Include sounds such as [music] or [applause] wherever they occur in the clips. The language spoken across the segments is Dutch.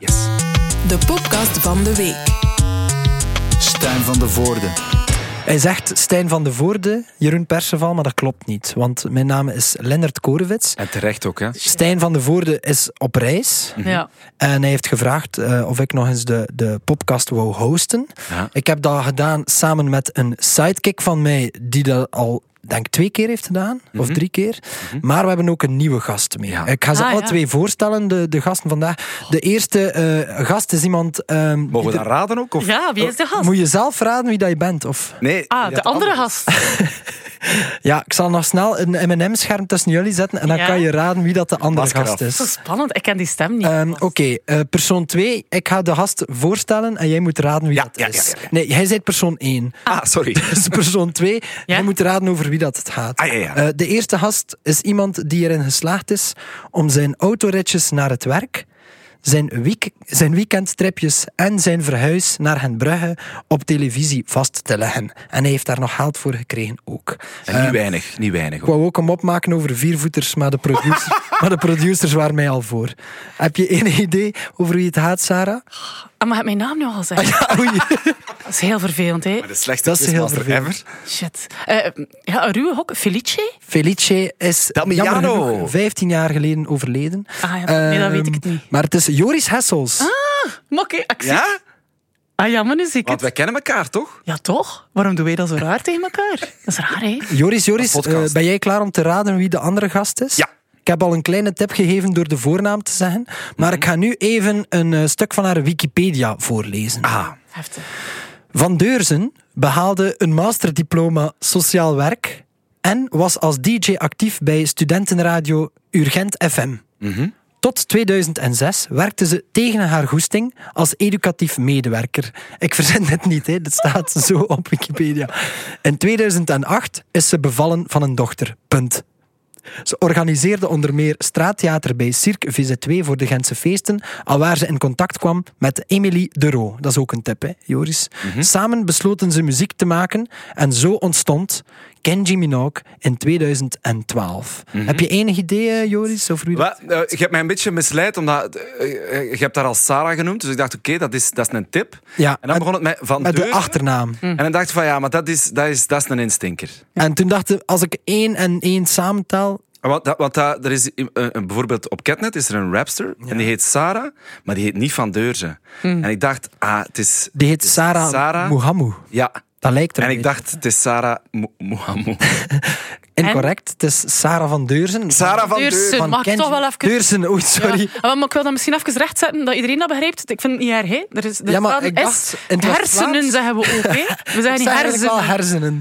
Yes. De podcast van de week. Stijn van de Voorde. Hij zegt Stijn van de Voorde, Jeroen Perceval, maar dat klopt niet. Want mijn naam is Lennart Korewits. En terecht ook, hè? Stijn van de Voorde is op reis. Mhm. Ja. En hij heeft gevraagd eh, of ik nog eens de, de podcast wou hosten. Ja. Ik heb dat gedaan samen met een sidekick van mij, die dat al denk ik, twee keer heeft gedaan, of drie keer. Maar we hebben ook een nieuwe gast mee. Mhm. Ja. Ik ga ze Ah, alle ja. twee voorstellen, de, de gasten vandaag. De eerste eh, gast is iemand... ehm, die Mogen we er- dat raden ook? Of? Oh. Ja, wie is de gast? Moet je zelf raden wie dat je bent? Of... Nee. Ah, de andere gast. Ja, ik zal nog snel een M&M-scherm tussen jullie zetten en dan Ja? kan je raden wie dat de andere Masker gast af. Zo is. spannend, ik ken die stem niet. Ehm, Oké, eh, persoon 2. Ik ga de gast voorstellen en jij moet raden wie Ja, dat ja, ja, is. ja, ja. Nee, jij bent persoon 1. Ah, sorry. [laughs] Dus persoon 2, jij moet raden over wie dat het gaat. Ah, ja, ja. Eh, de eerste gast is iemand die erin geslaagd is om zijn autoritjes naar het werk, zijn, week, zijn weekendtripjes en zijn verhuis naar hen Brugge op televisie vast te leggen. En hij heeft daar nog geld voor gekregen ook. En niet weinig, niet weinig. Ik wou ook een mop maken over viervoeters, maar de, producer, [laughs] maar de producers waren mij al voor. Heb je enig idee over wie het gaat, [laughs] Sarah? Ah, maar heb mijn naam nu al gezegd? Oei. Dat is heel vervelend, hè? De slechtste Dat is heel quizmaster vervelend. ever. Shit. Eh, ja, een ruwe hok. Felice? Felice is Damiano. jammer genoeg 15 jaar geleden overleden. Ah ja, nee, dat weet ik het Ehm, niet. Ah. Maar het is Joris Hessels. Mokke, actie. Ja? Ah ja, maar nu zie ik Want het. wij kennen elkaar, toch? Ja, toch? Waarom doen wij dat zo raar tegen elkaar? Dat is raar, hè? Joris, Joris, Een podcast. eh, ben jij klaar om te raden wie de andere gast is? Ja. Ik heb al een kleine tip gegeven door de voornaam te zeggen, maar Mhm. ik ga nu even een eh, stuk van haar Wikipedia voorlezen. Ah. Heftig. Van Deurzen behaalde een masterdiploma sociaal werk en was als DJ actief bij studentenradio Urgent FM. Tot 2006 werkte ze tegen haar goesting als educatief medewerker. Ik verzin dit niet, hè. dit staat zo op Wikipedia. In 2008 is ze bevallen van een dochter. Punt. Ze organiseerde onder meer straattheater bij Cirque VZ2 voor de Gentse feesten, alwaar ze in contact kwam met Emily de Roo. Dat is ook een tip, hè, Joris. Mhm. Samen besloten ze muziek te maken en zo ontstond Kenji Minogue in 2012. Heb je enig idee, eh, Joris, over wie dat... Mhm. Wat, eh, je hebt mij een beetje misleid, omdat eh, eh, je hebt daar al Sarah genoemd. Dus ik dacht, oké, dat, is, dat is een tip. Ja, En dan begon het met Van met de Deuren. achternaam. En dan dacht ik van, ja, maar dat is, dat is, dat is een instinker. En toen dacht ik, als ik één en één samentel... Want, dat, want dat, er is, een- een- bijvoorbeeld op Catnet is er een rapster, en die heet Sarah, maar die heet niet Van Deurzen. En ik dacht, ah, het is... Die heet Sarah, Sarah. Muhammad. Ja. Dat lijkt er En een ik beetje. dacht, het is Sarah Mo- [laughs] Mohamou. Incorrect, het is Sarah van Deurzen. Sarah van Deurzen. Deursen, Van mag ik Kenji- toch wel even... Deurzen, oei, sorry. Ja, Ah, maar ik wil dat misschien even rechtzetten, dat iedereen dat begrijpt. Ik vind het niet erg, hè? Er is, er Ja, maar staan ik dacht, S. in het was Hersenen Vlaams. zeggen we ook, hè? We zeggen Ik niet zei eigenlijk wel hersenen.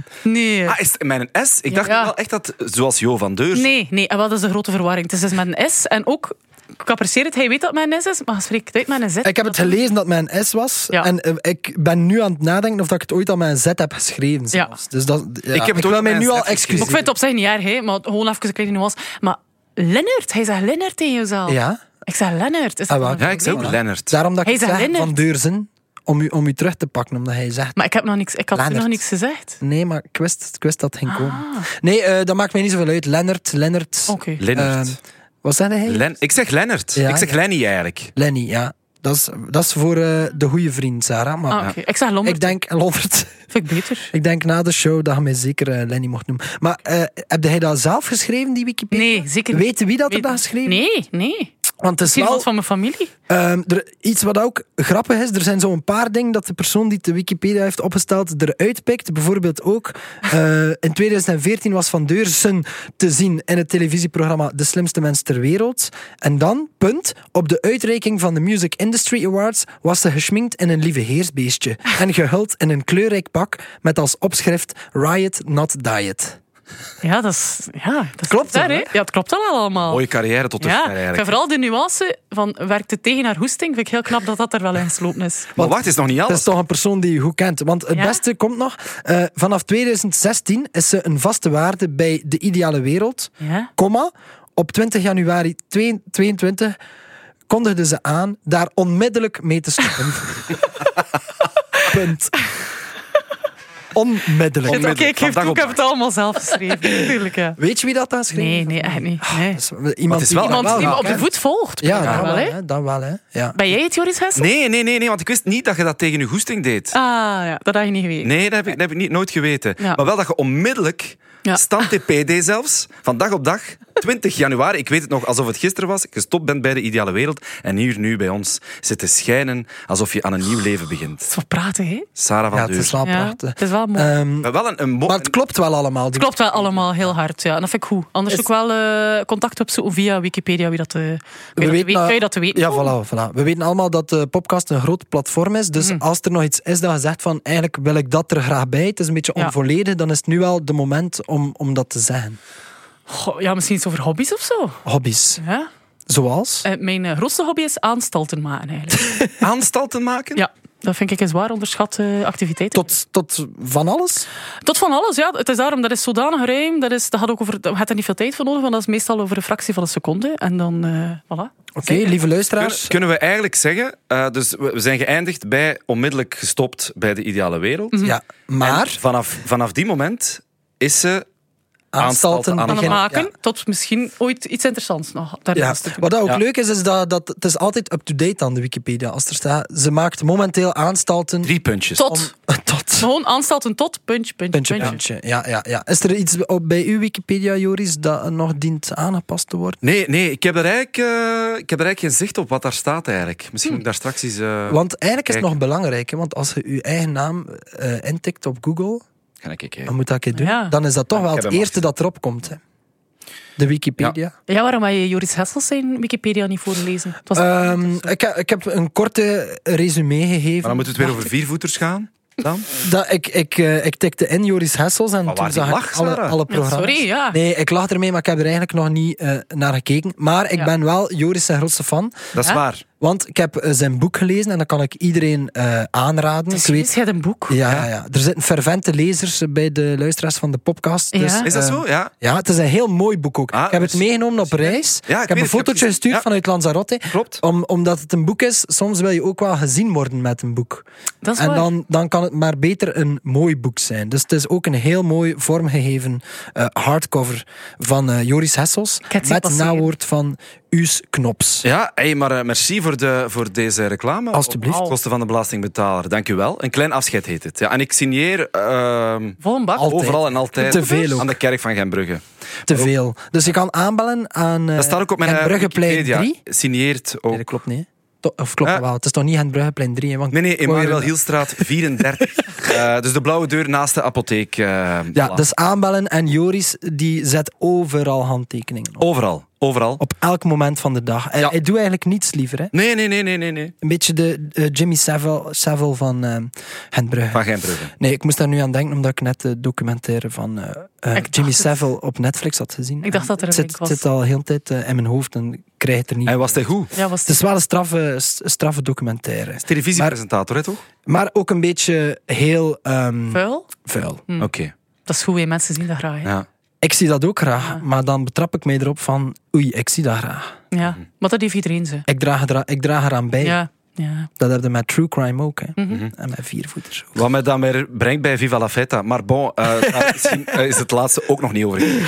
hersenen. Nee. Ah, is het mijn S? Ik dacht Ja. wel echt dat, zoals Jo van Deurs. Nee, nee, en wel, dat is de grote verwarring. Het is dus met een S en ook... Ik apprecieer het, hij weet dat het met een S is, maar hij spreekt het uit met een Z. Ik heb het gelezen dat mijn S was. Ja. En eh, ik ben nu aan het nadenken of dat ik het ooit al mijn Z heb geschreven. Zelfs. Dus dat, ja, heb het ook wil met mij een nu Z al geschreven. Maar excuseren. ik vind het op zich niet erg, hè, maar gewoon even een kleine nuance. Maar Lennart, hij zegt Lennart tegen jezelf. Ja. Ik zeg Lennart. Is dat Ah, wel. dan een Ja, ik zei ook probleem? Lennart. Daarom dat Hij ik is een zeg Lennart. van Deurzen, om u, om u terug te pakken, omdat hij zegt... Maar ik, heb nog niks, ik had toen nog Lennart. niks gezegd. Nee, maar ik wist, ik wist dat het ging komen. Nee, eh, dat maakt mij niet zoveel uit. Lennart, Lennart... Ah. Oké. Lennart. Eh, Ehm, wat zei hij? Len- ik zeg Lennart. Ja, ik zeg ja. Lenny eigenlijk. Lenny, ja. Dat is, dat is voor eh, de goede vriend, Sarah. Maar Ah, oké. Ik zeg Lombard, ik denk... Lombard. vind ik beter. Ik denk na de show dat je mij zeker eh, Lenny mocht noemen. Maar eh, heb jij dat zelf geschreven, die Wikipedia? Nee, zeker niet. Weet wie dat er Weet- dat geschreven Nee, nee. Want het is Misschien wel, iemand van mijn familie. ehm, er, iets wat ook grappig is, er zijn zo'n paar dingen dat de persoon die de Wikipedia heeft opgesteld eruit pikt. Bijvoorbeeld ook, eh, in 2014 was Van Deursen te zien in het televisieprogramma De Slimste Mens Ter Wereld. En dan, punt, op de uitreiking van de Music Industry Awards was ze geschminkt in een lieve heersbeestje en gehuld in een kleurrijk pak met als opschrift Riot Not Diet. Ja, dat is... Ja, dat is Klopt daar, wel, hè? hè? Ja, het klopt wel allemaal. Mooie carrière tot dusver ja, ik vind eigenlijk. vooral de nuance van werkte tegen haar hoesting, vind ik heel knap dat dat er wel in geslopen is. Maar wacht, is nog niet Dat alles. is toch een persoon die je goed kent. Want het Ja? beste komt nog. eh, vanaf 2016 is ze een vaste waarde bij De Ideale Wereld. Ja. Comma, op 20 januari 2022 kondigde ze aan daar [laughs] onmiddellijk mee te stoppen. Punt. Onmiddellijk. Onmiddellijk. Kijk, ik geef Van dag toe, op ik heb het allemaal zelf geschreven. Tuurlijk, ja. Weet je wie dat daar schreef? Nee, nee, echt niet. Nee. Ah, Dat is iemand het is die wel- Iemand iemand die me op de kent. voet volgt. Ja, blijkbaar dan wel, wel, hè? hè. Dan wel, hè. Ja. Ben jij het, Joris Hessel? Nee, nee, nee, nee, want ik wist niet dat je dat tegen je goesting deed. Ah, ja, dat had je niet geweten. Nee, dat heb ik, dat heb ik niet, nooit geweten. Ja. Maar wel dat je onmiddellijk, Ja. stand TPD zelfs, van dag op dag, 20 januari, ik weet het nog alsof het gisteren was, gestopt bent bij de ideale wereld en hier nu bij ons zit te schijnen alsof je aan een nieuw leven begint. Het is wel praten, hè? Sarah van ja, ja, het is wel Ja, prachtig. het is wel mooi. Ehm, Maar wel een, een mo- maar het klopt wel allemaal. Die- Klopt wel allemaal heel hard, ja. En dat vind ik goed. Anders Is- ook wel eh, contact opzoeken via Wikipedia, wie dat... eh, kun, je dat weten weten- dat- kun je dat te weten Ja, komen? voilà, voilà. We weten allemaal dat de podcast een groot platform is. Dus Mm. als er nog iets is dat je zegt van eigenlijk wil ik dat er graag bij, het is een beetje Ja. onvolledig, dan is het nu wel de moment om, om dat te zeggen. Goh, ja, misschien iets over hobby's of zo. Hobby's. Ja. Zoals? Eh, mijn eh, grootste hobby is aanstalten maken, eigenlijk. aanstalten maken? ja. Dat vind ik een zwaar onderschatte activiteit. Tot, tot van alles? Tot van alles, ja. Het is daarom, dat is zodanig ruim. Dat is, dat gaat ook over, je hebt er niet veel tijd voor nodig, want dat is meestal over een fractie van een seconde. En dan, eh voilà. Oké, lieve luisteraars. Dus Kunnen we eigenlijk zeggen, eh, dus we we zijn geëindigd bij onmiddellijk gestopt bij de ideale wereld. Ja, En maar vanaf, vanaf die moment is ze aanstalten aan aanstalten aan het Aan het begin. maken, Ja. tot misschien ooit iets interessants nog Ja. daarnaast te doen. Wat dat ook Ja. leuk is, is dat, dat het is altijd up-to-date aan de Wikipedia. Als er staat, ze maakt momenteel aanstalten drie puntjes. Tot. om- [laughs] tot Gewoon aanstalten tot, puntje, puntje, Puntje, puntje. puntje. Ja, ja, ja. Is er iets op, bij uw Wikipedia, Joris, dat nog dient aangepast te worden? Nee, nee ik, heb er eigenlijk, eh, ik heb er eigenlijk geen zicht op wat daar staat eigenlijk. Misschien moet ik daar straks eens... eh, Hm. Want eigenlijk is het Kijk. nog belangrijk, hè, want als je je eigen naam eh, intikt op Google, Ga ik kijken. dan moet dat een keer doen, Ja. dan is dat toch Ja, wel ik het heb hem eerste dat erop komt. Hè. De Wikipedia. Ja, waarom had je Joris Hessels zijn Wikipedia niet voorlezen? Het was Ehm, ik, he- ik heb een korte resume gegeven. Maar dan moeten we het weer over viervoeters gaan. Dan? dat, ik, ik, eh, ik tikte in Joris Hessels en Maar toen waar zag die ik lach, alle, Sarah? alle Ja, programma's. sorry, ja. Nee, ik lach ermee, maar ik heb er eigenlijk nog niet eh, naar gekeken. Maar ik Ja. ben wel Joris zijn grootste fan. Dat is Ja? waar. Want ik heb eh, zijn boek gelezen en dat kan ik iedereen eh, aanraden. Ik Precies, weet, jij hebt een boek. ja, ja, ja. Er zitten fervente lezers eh, bij de luisteraars van de podcast. Ja. Dus, Is dat eh, zo? Ja. Ja, het is een heel mooi boek ook. Ah, ik heb het dus- meegenomen op Ja, ik reis. ik heb weet een het, ik heb fotootje gezien. gestuurd Ja. vanuit Lanzarote. Klopt. Om, omdat het een boek is, soms wil je ook wel gezien worden met een boek. Dat is en waar. dan, dan kan het maar beter een mooi boek zijn. Dus het is ook een heel mooi vormgegeven eh, hardcover van eh, Joris Hessels. heb het zien Met passeren. nawoord van Us Knops. Ja, hey, maar eh, merci voor, de, voor deze reclame. Alsjeblieft. Op kosten van de belastingbetaler. Dank u wel. Een klein afscheid heet het. Ja, en ik signeer ehm, Vol een bak. Al- Altijd. overal en altijd Te veel ook. Eh, aan de kerk van Gembrugge. Te veel. Dus je kan aanbellen aan eh Dat staat ook op mijn eh, Bruggenplein Wikipedia. 3. Signeert Nee, ook. dat klopt niet. hè. To- Of klopt Ja. wel. Het is toch niet aan Bruggenplein 3. hè, Want Nee, nee, ik wou weer Emmanuel een- Hielstraat [laughs] 34. Eh, dus de blauwe deur naast de apotheek. eh, Ja, voilà. dus aanbellen en Joris die zet overal handtekeningen op. Overal, overal. Op elk moment van de dag. Hij, Oh. Ja. hij doet eigenlijk niets liever. Hè? Nee, nee, nee, nee, nee, nee. Een beetje de eh, Jimmy Savile, Savile van uh, Brugge. Van Gijnbrugge. Nee, ik moest daar nu aan denken omdat ik net de documentaire van eh, eh, Ik Jimmy dacht het. Savile op Netflix had gezien. Ik dacht En dat er het een zit, link was. zit al heel de tijd eh, in mijn hoofd en ik krijg het er niet. En was hij goed? Ja, was Het is wel een straffe, s- straffe documentaire. Televisiepresentator, hè, toch? Maar ook een beetje heel ehm, vuil? vuil. Oké. Dat is goed, hè. mensen zien dat graag. hè. Ja. Ja. Ik zie dat ook graag, maar dan betrap ik mij erop van oei, ik zie dat graag. Maar dat heeft iedereen ze. Ik draag, er- ik draag eraan bij. Ja. Mhm. ja. Dat hebben we met True Crime ook. Hè. En met viervoeters ook. Wat mij dan weer brengt bij Viva la Feta. Maar bon, [laughs] eh, daar misschien, eh, is het laatste ook nog niet over. gekomen.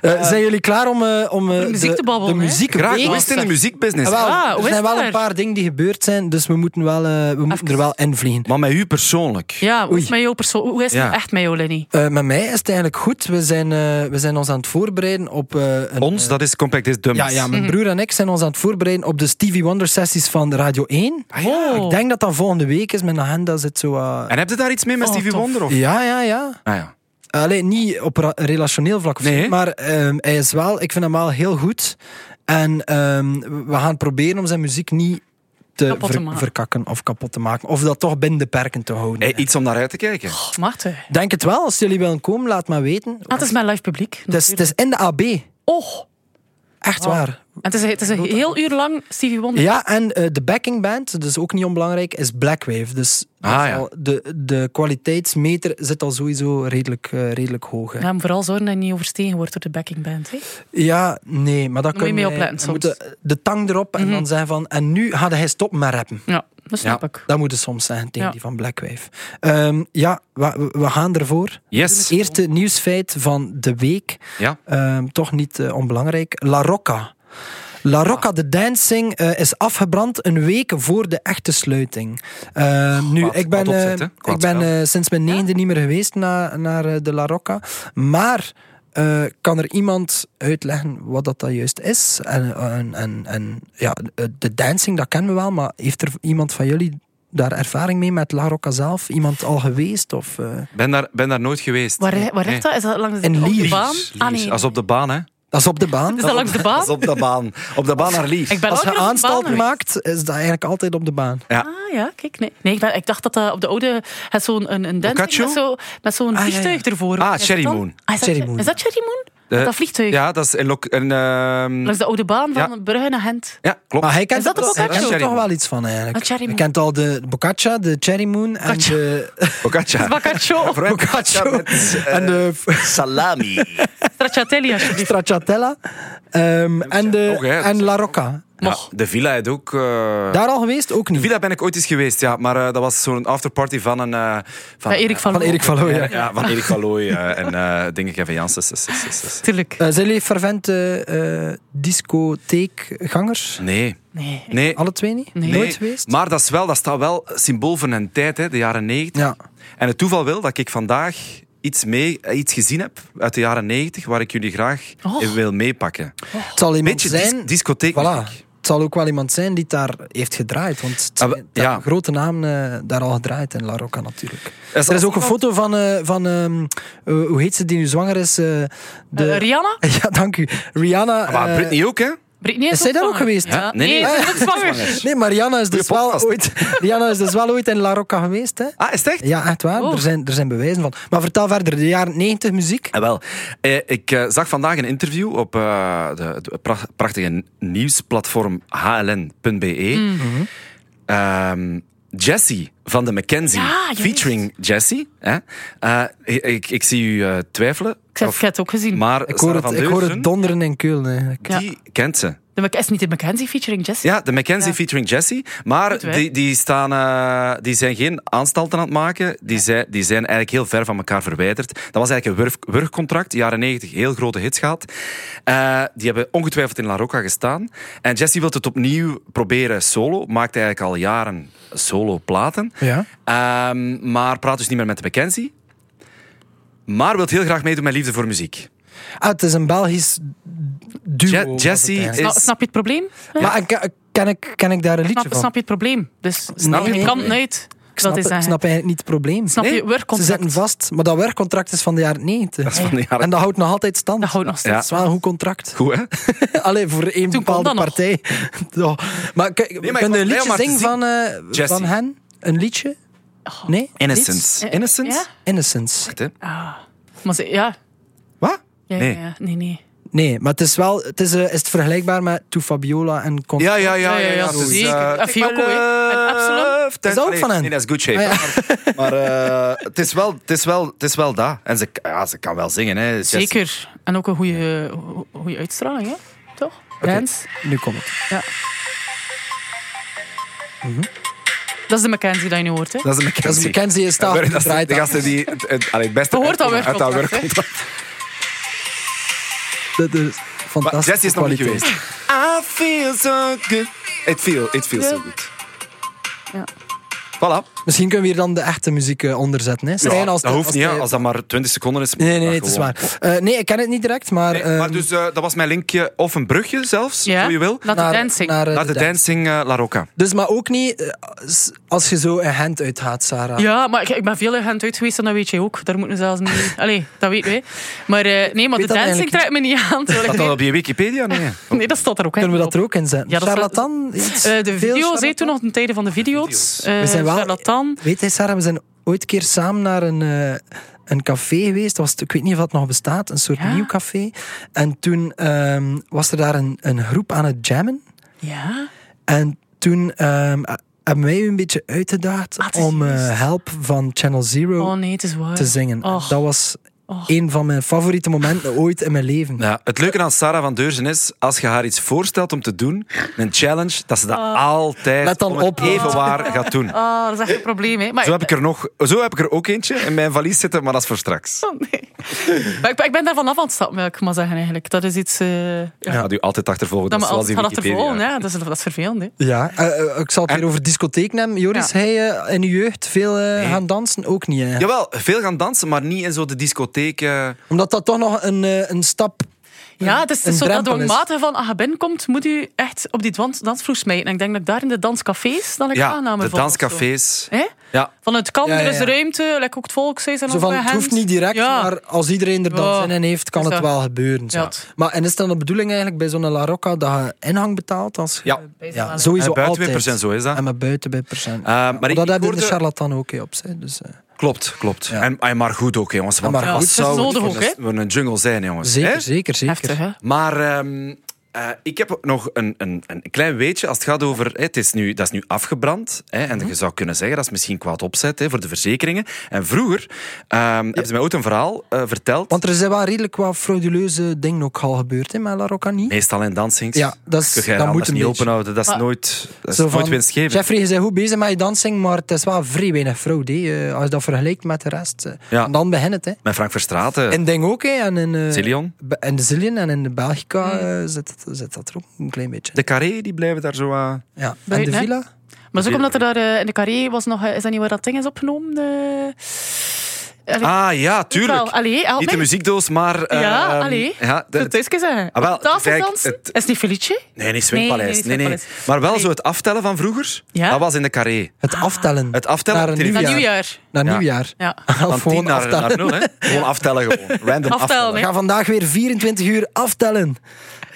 Eh, zijn jullie klaar om, eh, om eh, de muziek te babbelen, De hè? muziek Graag, mee- hoe is het in de muziekbusiness? Ah, wel, Ah, hoe er is zijn het wel een daar? paar dingen die gebeurd zijn, dus we moeten, wel, eh, we moeten er wel in vliegen. Maar met u persoonlijk. Ja, hoe is Oei. het met jouw persoon? Hoe is het Ja. echt met jou, Lenny? Eh, met mij is het eigenlijk goed. We zijn, eh, we zijn ons aan het voorbereiden op... eh, een, Ons, dat is Compact is Dummies. ja, ja, mijn broer en ik zijn ons aan het voorbereiden op de Stevie Wonder sessies van Radio 1. Oh. Ik denk dat dat volgende week is. Mijn agenda zit zo... eh, Ah, En heb je daar iets mee met Oh, Stevie tof. Wonder? Of? Ja, ja, ja. Ah, ja. Allee, niet op ra- relationeel vlak, of zo, Nee, hè? maar ehm, hij is wel, ik vind hem wel heel goed. En ehm, we gaan proberen om zijn muziek niet te, Kapot te ver- maken. verkakken of kapot te maken. Of dat toch binnen de perken te houden. Hey, iets om naar uit te kijken. Oh, Maarten. Denk het wel, als jullie willen komen, laat maar weten. Ah, het is mijn live publiek. Het is, het is in de AB, Oh. echt waar. En het is, het is een heel uur lang Stevie Wonder. Ja, en eh, de backing band, dus ook niet onbelangrijk, is Blackwave. Dus dat Ah, is ja. al- de, de kwaliteitsmeter zit al sowieso redelijk, eh, redelijk hoog. hè. Ja, maar vooral zorgen dat je niet overstegen wordt door de backing band. Hè? Ja, nee, maar dat Dan moet je kunnen mee wij- opletten we soms. Mhm. moeten de tang erop en dan zeggen van... En nu gaat hij stoppen met rappen. Ja. dat snap Ja. ik. Dat moet het soms zijn tegen Ja. die van Black Wave. Ehm, ja, we, we gaan ervoor. Yes. Eerste nieuwsfeit van de week. Ja. Ehm, toch niet eh, onbelangrijk. La Rocca. La Rocca de Dancing eh, is afgebrand een week voor de echte sluiting. Ehm, nu, Kwaad- ik ben, kwaad opzet, eh, hè? Kwaad ik ben spel. eh, sinds mijn negende niet meer geweest naar, naar eh, de La Rocca. Maar eh, kan er iemand uitleggen wat dat, dat juist is? En, en, en, en ja, eh, de dancing, dat kennen we wel, maar heeft er iemand van jullie daar ervaring mee met La Rocca zelf? Iemand al geweest? Of, eh? Ben daar, ben daar nooit geweest. Waar, waar ligt dat? Is dat langs de, In op de Lier. baan? Liers, Ah, Liers. nee. Als op de baan, hè? Dat is op de baan. Is dat langs de [laughs] Dat baan? is op de baan. Op de baan naar Lier. Ik ben Als ook je weer op de aanstalt baan geweest. maakt, is dat eigenlijk altijd op de baan. Ah ja, kijk. Nee, nee ik, ben- ik dacht dat dat op de oude... Het is zo'n een, een dancing Boccaccio? met zo'n met zo'n ja, ja. vliegtuig ervoor. Ah, Is dat Cherry dan? Moon. Ah, is, dat, Cherry Moon. is dat Cherry Moon? Met dat vliegtuig? Eh, Ja, dat is een... lok- een ehm, Langs de oude baan van Ja. Brugge naar Gent. ja, klopt. Maar hij kent Is dat er de toch- hij Boccaccio? kent er toch Cherry wel iets van Ah, eigenlijk. Cherry Hij Moon. kent al de Boccaccia, de Cherry Moon en Boccaccia. [laughs] de Boccaccia. Boccaccio of Vooruit. Boccaccio Ja, met, eh, [laughs] en de salami. Stracciatelli, alsjeblieft. Stracciatella ehm, en, de, Nog, hè. en La Rocca. Ja, de villa heeft ook... eh, Daar al geweest? Ook De niet. villa ben ik ooit eens geweest, ja. Maar eh, dat was zo'n afterparty van een... eh, van, Bij Erik van Van Loo. Erik van Looy. Ja, ja, van Erik van Looy eh, en eh denk ik Kevin Janssens. dus, dus, dus, dus. Tuurlijk. Eh, zijn jullie fervente eh, discotheekgangers? Nee. Nee. Nee. Alle twee niet? Nee. Nooit geweest? Maar dat, is wel, dat staat wel symbool van een tijd, hè, de jaren 90. Ja. En het toeval wil dat ik vandaag iets, mee, eh, iets gezien heb uit de jaren 90 waar ik jullie graag Oh. in wil meepakken. Het zal iemand Beetje dis- zijn... discotheek. Voilà. Het zal ook wel iemand zijn die het daar heeft gedraaid. Want het Ah, we- zijn daar ja. grote naam eh, daar al gedraaid in La Rocca natuurlijk. Er Er is ook een foto van, eh, van ehm, eh, hoe heet ze die nu zwanger is? eh, de... Eh, Rihanna? [laughs] ja, dank u. Rihanna. Ah, Maar eh, Britney ook, hè? Britney is Is zij daar ook zwanger. geweest? Ja. Ja? Nee, Nee, nee. ze [laughs] is ook zwanger. Nee, maar Rihanna is, dus Goeie wel podcast. ooit, [laughs] Rihanna is dus wel ooit in La Rocca geweest. Hè? Ah, is het echt? Ja, echt waar. Oh. Er, zijn, er zijn bewijzen van. Maar vertel verder, de jaren 90 muziek. Eh, wel, eh, ik eh, zag vandaag een interview op eh, de, de pra- prachtige nieuwsplatform hln.be. E. Mhm. Ehm, Jesse van de Mackenzie, Ja, juist. featuring Jesse. Hè? Eh, ik, ik, ik zie u eh, twijfelen. Ik heb Of- ik heb het ook gezien. maar Ik hoor, Sarah het, van ik hoor Deurzen, het donderen in Keulen eigenlijk. Ja. die kent ze. De Mac- is niet de Mackenzie featuring Jessie? Ja, de Mackenzie Ja. featuring Jesse. Maar Goed werk. die, die, staan, eh, die zijn geen aanstalten aan het maken. Die zijn, die zijn eigenlijk heel ver van elkaar verwijderd. Dat was eigenlijk een wurf- wurgcontract. Jaren 90, heel grote hits gehad. Eh, die hebben ongetwijfeld in La Rocca gestaan. En Jesse wil het opnieuw proberen solo. Maakt eigenlijk al jaren solo platen. Ja. Ehm, maar praat dus niet meer met de Mackenzie. Maar wil heel graag meedoen met Liefde voor Muziek. Ah, het is een Belgisch duo. Je- was het Jesse eigenlijk. is- Sna- Snap je het probleem? Maar en ke- ken ik, ken ik daar een liedje Snap, van? snap je het probleem? Dus snap nee, je nee. kan het uit. ik snap, dat is ik eigenlijk. snap eigenlijk niet het probleem. Snap Nee, je Ze zitten werkcontract? vast, maar dat werkcontract is van de jaren 90. is van de jaren- En dat houdt nog altijd stand. Dat houdt nog steeds Dat is wel een goed contract. [laughs] Goed, hè? Alleen voor één kon bepaalde dat nog. partij. [laughs] Ja. Maar kun ik kun was je een blij om liedje haar te zingen zien. van, eh, Jessie. van hen? Een liedje? Nee? Niets? Innocence. Innocence? Eh, Ja? Innocence. Wacht, hè. Maar ze, ja. Wat? Ja, Nee. ja, ja. nee, nee. Nee, maar het is wel... Het is, eh, is het vergelijkbaar met To Fabiola en Con... Ja, ja, ja. ja, Ja, ja, ja, Het is, zeker. eh, En Take Fiocco, My hè. En Love, Absalom. Ten- Is dat ook Allee, van hen? Nee, dat is Good Shape. Ah, Maar eh, het is wel- het is wel- het is wel dat. En ze, ja, ze kan wel zingen, hè. Jessie. Zeker. En ook een goede, goede uitstraling, hè? Toch? Dance. Nu komt het. Dat is de Mackenzie die je nu hoort, hè? Dat is een Dat is McKenzie. Mackenzie is Dat daar is gedraaid. de aan. gasten die het, het, allee, het beste Je hoort dat uitkomen uit dat werkcontract, hè. werkcontract. Dat is Maar fantastisch. Jessie is nog niet geweest. I feel so good. It, feel, it feels so good. Ja. Voilà. Misschien kunnen we hier dan de echte muziek eh, onder zetten. Hè. Schijn Ja, als dat de- hoeft als niet, de- hè. als dat maar 20 seconden is. Nee, nee, maar nee, het is gewoon. waar. Eh, nee, ik ken het niet direct, maar... Nee, maar ehm, dus, eh, dat was mijn linkje, of een brugje zelfs, Ja. hoe je wil. Laat de dancing. naar, eh, Naar de dancing eh, La Rocca. Dus maar ook niet eh, s- als je zo een hand uithaalt, Sarah. Ja, maar ik, ik ben veel in Gent uit geweest en dat weet jij ook. Daar moeten we zelfs niet... [laughs] Allee, dat weten wij. Maar eh, nee, maar Weet de dat dancing eigenlijk trekt me niet aan. terwijl ik Dat weet- dan op je Wikipedia? Nee. Nee, dat staat er ook. hè. Kunnen we dat er ook in zetten? Ja, dat is wel- charlatan? Iets? Eh, de Veel video's, hè, charlatan? toen nog de tijden van de video's. Eh We zijn wel- Charlatan. Weet je, Sarah, we zijn ooit een keer samen naar een, eh, een café geweest. Dat Was, ik weet niet of dat nog bestaat, een soort Ja. nieuw café. En toen ehm, was er daar een, een groep aan het jammen. Ja. En toen ehm, eh, hebben wij u een beetje uitgedaagd Ah, het is om eh, juist. Help van Channel Zero Oh nee, het is waar. te zingen. Och. Dat was een van mijn favoriete [laughs] momenten ooit in mijn leven. Ja, het leuke aan Sarah van Deurzen is, als je haar iets voorstelt om te doen, een challenge, dat ze dat altijd Let dan om het op. even waar gaat doen. Ah, dat is echt een probleem. Hè. Maar, Zo heb ik er nog, zo heb ik er ook eentje in mijn valies zitten, maar dat is voor straks. [laughs] Oh, nee. maar ik, ben- ik ben daar vanaf aan het stappen, wil ik maar zeggen eigenlijk. Dat is iets... eh ja. Ja, gaat u altijd achtervolgen, Dat dat me is zoals altijd die gaat achtervolgen, Wikipedia. hè. dat, is, dat is vervelend. Hè. Ja, eh, eh, ik zal het weer over discotheek nemen. Joris, Ja. hij eh, in uw jeugd veel eh, gaan dansen? Ook niet, hè? Jawel, veel gaan dansen, maar niet in zo de discotheek. eh. Omdat dat toch nog een, eh, een stap... Ja, het is, het is een zo dat drempel is. dwangmatige van als je binnenkomt, moet u echt op die dans- dansvloer smijten. En ik denk dat ik daar in de danscafés dan ik Ja, aanname de val of zo. danscafés. Hè? Ja, Van het kan, Ja, ja, er is ja. ruimte, like ook het volkshuis en Zo van, het hoeft niet direct, eh, ja. maar als iedereen er dan Ja. zin in heeft, kan Is het dat- wel gebeuren. Zo. Ja, het- Maar en is het dan de bedoeling eigenlijk bij zo'n La Rocca dat je inhang betaalt? Als je- ja. ja, sowieso En altijd. buitenwippers en zo is dat. En met buitenwippercent. Eh, maar ik- maar dat ik hebben de hoorde- charlatan ook hè, op zich. Dus, eh, Klopt, klopt. En, en maar goed ook, jongens. Want maar wat goed. Ja, het is zou het nodig voor ook, een- hè? voor een jungle zijn, jongens? zeker, Hè? zeker, zeker. Heftig, hè? Maar ehm, eh, ik heb nog een, een, een klein weetje als het gaat over... hè, het is nu, dat is nu afgebrand. Hè, en je zou kunnen zeggen, dat is misschien kwaad opzet hè, voor de verzekeringen. En vroeger ehm hebben ze mij ooit een verhaal eh, verteld. Want er zijn wel redelijk wat frauduleuze dingen ook al gebeurd hè, met La Rocca niet. Meestal in dansings. Ja, dat is- Kun jij dat anders moet een niet beetje. openhouden. Dat is Maar- nooit, dat is Zo nooit van, winstgevend. Jeffrey, je bent goed bezig met je dansing, maar het is wel vrij weinig fraude. hè, eh, Als je dat vergelijkt met de rest. eh. Ja. En dan begint het. Hè. Met Frank Verstraeten. In Ding ook, hè, en in, eh, Zillion. Be- In de Zillion en in de Belgica eh, zit, het- zit dat er ook een klein beetje. De carré, die blijven daar zo aan. ja. En de Buiten, hè? Villa? Maar zo omdat er daar eh, in de carré was nog... eh, Is dat niet waar dat ding is opgenomen? De... Allee, Ah ja, wel, tuurlijk. Allee, help Niet de mij. muziekdoos, maar... Ja, ehm, allee. Ja, de- Zo thuisje zeggen. Ah, wel, Tafel kijk, dansen? het- Is het niet Felice? Nee, niet Swingpaleis. Nee, Nee, nee, nee, niet Maar wel Nee. zo het aftellen van vroeger. Ja? Dat was in de carré. Het aftellen. Het aftellen naar een op televisie. Na nieuwjaar. nieuwjaar. Naar Ja. nieuwjaar. Ja. Of Van [laughs] gewoon 10 naar, aftellen. naar 0, hè? [laughs] Gewoon aftellen gewoon. Random Aftellen, aftellen. We hè. gaan vandaag weer 24 uur aftellen.